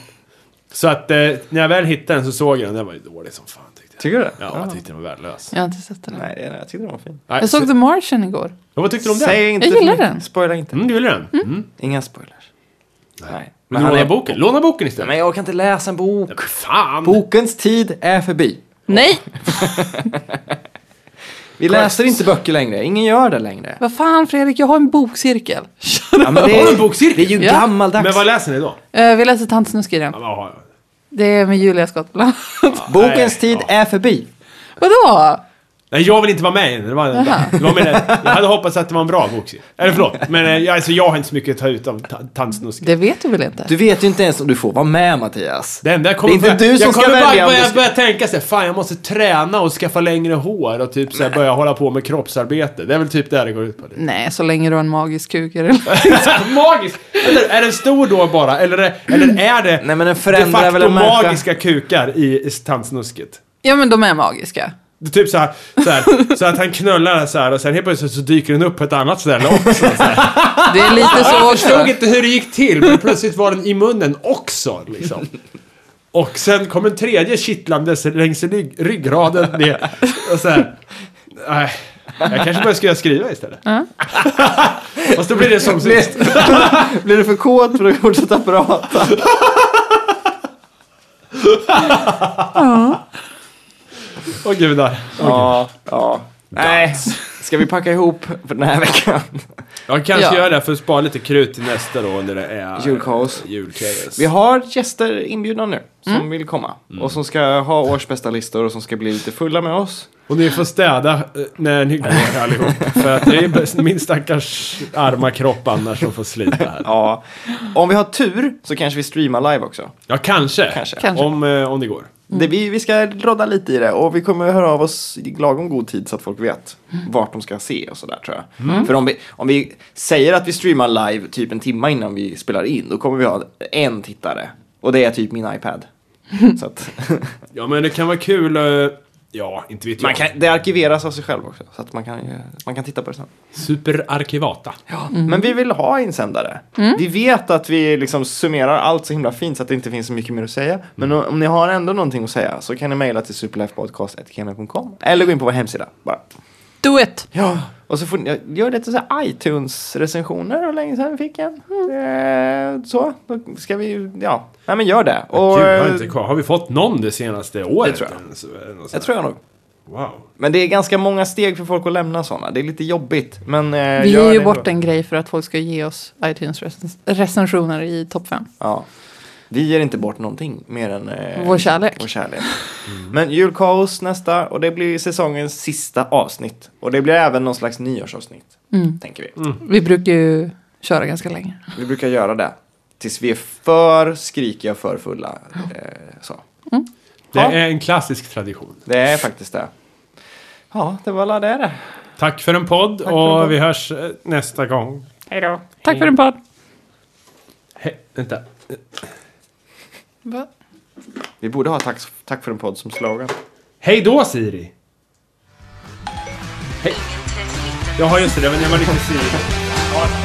Speaker 1: Så att eh, när jag väl hittade den så såg jag den, den var ju dålig som fan tyckte jag.
Speaker 2: Tycker du det?
Speaker 1: Ja, jag tyckte den var värdelös.
Speaker 3: Jag har inte sett den.
Speaker 2: Nej, det är- jag tyckte den var fin.
Speaker 1: Nej,
Speaker 3: Jag såg
Speaker 1: så-
Speaker 3: The Martian igår.
Speaker 1: Ja, Vad tyckte du om den?
Speaker 2: Säg inte
Speaker 3: Jag gillar
Speaker 2: för mycket.
Speaker 3: den.
Speaker 2: Spoila inte.
Speaker 1: Mm, du gillar den? Mm.
Speaker 2: Inga spoilers. Nej.
Speaker 1: Men låna boken. Låna boken
Speaker 2: Nej,
Speaker 1: istället.
Speaker 2: Men jag kan inte läsa en bok.
Speaker 1: Fan!
Speaker 2: Bokens tid är förbi.
Speaker 3: Nej,
Speaker 2: Vi läser inte böcker längre. Ingen gör det längre.
Speaker 3: vad fan Fredrik, jag har en bokcirkel.
Speaker 2: Ja, men det,
Speaker 1: Har du en
Speaker 2: är,
Speaker 1: bokcirkel?
Speaker 2: det är ju
Speaker 3: Ja.
Speaker 2: gammaldags.
Speaker 1: Men vad läser ni då?
Speaker 3: Eh, Vi läser Tantsnusk i den.
Speaker 1: Ja, vad har jag?
Speaker 3: Det är med Julia Skott bland annat.
Speaker 2: Bokens
Speaker 1: Nej,
Speaker 2: tid
Speaker 1: ja.
Speaker 2: är förbi.
Speaker 3: Vadå?
Speaker 1: Nej, jag vill inte vara med i den. Det var, det var med det. Jag hade hoppats att det var en bra bok. Eller förlåt, men eh, jag- alltså, jag har inte så mycket att ta ut av ta- tandsnusk.
Speaker 3: Det vet du väl inte?
Speaker 2: Du vet ju inte ens om du får vara med Mattias.
Speaker 1: Det enda jag kommer
Speaker 2: Det är inte
Speaker 1: börja-
Speaker 2: du som
Speaker 1: jag
Speaker 2: ska
Speaker 1: kommer bara
Speaker 2: välja om
Speaker 1: börja,
Speaker 2: du ska-
Speaker 1: börja tänka så här, fan jag måste träna och skaffa längre hår och typ så här, börja hålla på med kroppsarbete. Det är väl typ det här det går
Speaker 2: <laughs>
Speaker 1: ut på. Det.
Speaker 3: Nej, så länge du har en magisk kuk. är det-
Speaker 1: Magiskt! Eller är den stor då bara? Eller, är- eller är det
Speaker 2: Nej, men den förändrar
Speaker 1: de
Speaker 2: väl
Speaker 1: facto
Speaker 2: en människa?
Speaker 1: magiska kukar i, i tandsnusket?
Speaker 3: Ja, men de
Speaker 2: <laughs>
Speaker 3: är magiska.
Speaker 1: Det är Typ så här, så, här, så att han knullar så här och sen helt plötsligt så dyker den upp på ett annat ställe också.
Speaker 3: Det är lite så
Speaker 1: Jag förstod
Speaker 3: också.
Speaker 1: inte hur det gick till, men plötsligt var den i munnen också. Liksom. Och sen kom en tredje kittlandes längs i rygg, ryggraden ner. Och så här, nej, jag kanske bara skulle skriva istället. <laughs> Fast då blir det som sist.
Speaker 2: Blir du för kåt för att
Speaker 1: <laughs>
Speaker 2: fortsätta prata?
Speaker 1: Åh gudar.
Speaker 2: Ja, ja. Nej. Ska vi packa ihop för den här veckan?
Speaker 1: Jag kanske
Speaker 3: Ja.
Speaker 1: gör det för att spara lite krut till nästa då när det är eh,
Speaker 2: Julkaos.
Speaker 1: julkaos.
Speaker 2: Vi har gäster inbjudna nu som vill komma.
Speaker 1: Mm.
Speaker 2: Och som ska ha årsbästa listor och som ska bli lite fulla med oss.
Speaker 1: Och ni får städa eh, när ni går allihop. för att det är bäst- min stackars arma kropp annars som får slita här.
Speaker 2: Ja. Om vi har tur så kanske vi streamar live också.
Speaker 1: Ja, kanske.
Speaker 2: Kanske.
Speaker 3: Kanske.
Speaker 1: Om, eh, om det går.
Speaker 2: Det, vi, vi ska rodda lite i det och vi kommer höra av oss i lagom god tid så att folk vet vart de ska se och sådär tror jag. För om vi, om vi säger att vi streamar live typ en timme innan vi spelar in då kommer vi ha en tittare. Och det är typ min iPad. Så att,
Speaker 1: Ja, men det kan vara kul. eh, Ja, inte vet jag.
Speaker 2: man kan, det arkiveras av sig själv också. Så att man kan, ju- man kan titta på det sen.
Speaker 1: Superarkivata.
Speaker 2: Ja, Men vi vill ha insändare. Vi vet att vi liksom summerar allt så himla fint så att det inte finns så mycket mer att säga. Men om, om ni har ändå någonting att säga så kan ni mejla till superlifepodcast.gmail.com eller gå in på vår hemsida bara.
Speaker 3: Do it!
Speaker 2: Ja, och så får ni, jag gör lite så här iTunes-recensioner och länge sedan vi fick en. Eh, så, då ska vi, ja. Nej men gör det. Och,
Speaker 1: Gud,
Speaker 2: eh,
Speaker 1: har, inte, kvar- har vi fått någon det senaste året?
Speaker 2: tror jag.
Speaker 1: ens? eh,
Speaker 2: jag tror jag nog.
Speaker 1: Wow.
Speaker 2: Men det är ganska många steg för folk att lämna sådana. Det är lite jobbigt. Men, eh,
Speaker 3: Vi
Speaker 2: gör
Speaker 3: ger ju
Speaker 2: det
Speaker 3: bort
Speaker 2: då.
Speaker 3: en grej för att folk ska ge oss iTunes-recensioner i topp 5.
Speaker 2: Ja. Vi ger inte bort någonting mer än eh,
Speaker 3: Vår kärlek.
Speaker 2: Vår kärlek. Men julkaos nästa och det blir säsongens sista avsnitt. Och det blir även någon slags nyårsavsnitt.
Speaker 3: Mm.
Speaker 2: Tänker vi.
Speaker 3: Vi brukar ju köra ganska länge.
Speaker 2: Vi brukar göra det. Tills vi är för skrikiga, för fulla. Eh, så.
Speaker 1: Det
Speaker 2: Ja.
Speaker 1: är en klassisk tradition.
Speaker 2: Det är faktiskt det. Ja, det var alla det. det.
Speaker 1: Tack för en podd
Speaker 2: för en
Speaker 1: och
Speaker 2: podd.
Speaker 1: vi hörs eh, nästa gång.
Speaker 4: Hej då.
Speaker 3: Tack för din podd!
Speaker 1: Hej, vänta.
Speaker 3: Va?
Speaker 2: Vi borde ha tack, tack för en podd som slogan.
Speaker 1: Hej då Siri!
Speaker 5: Ingen träff hittar
Speaker 1: Ja, just det. Det var när man inte Siri. Ja.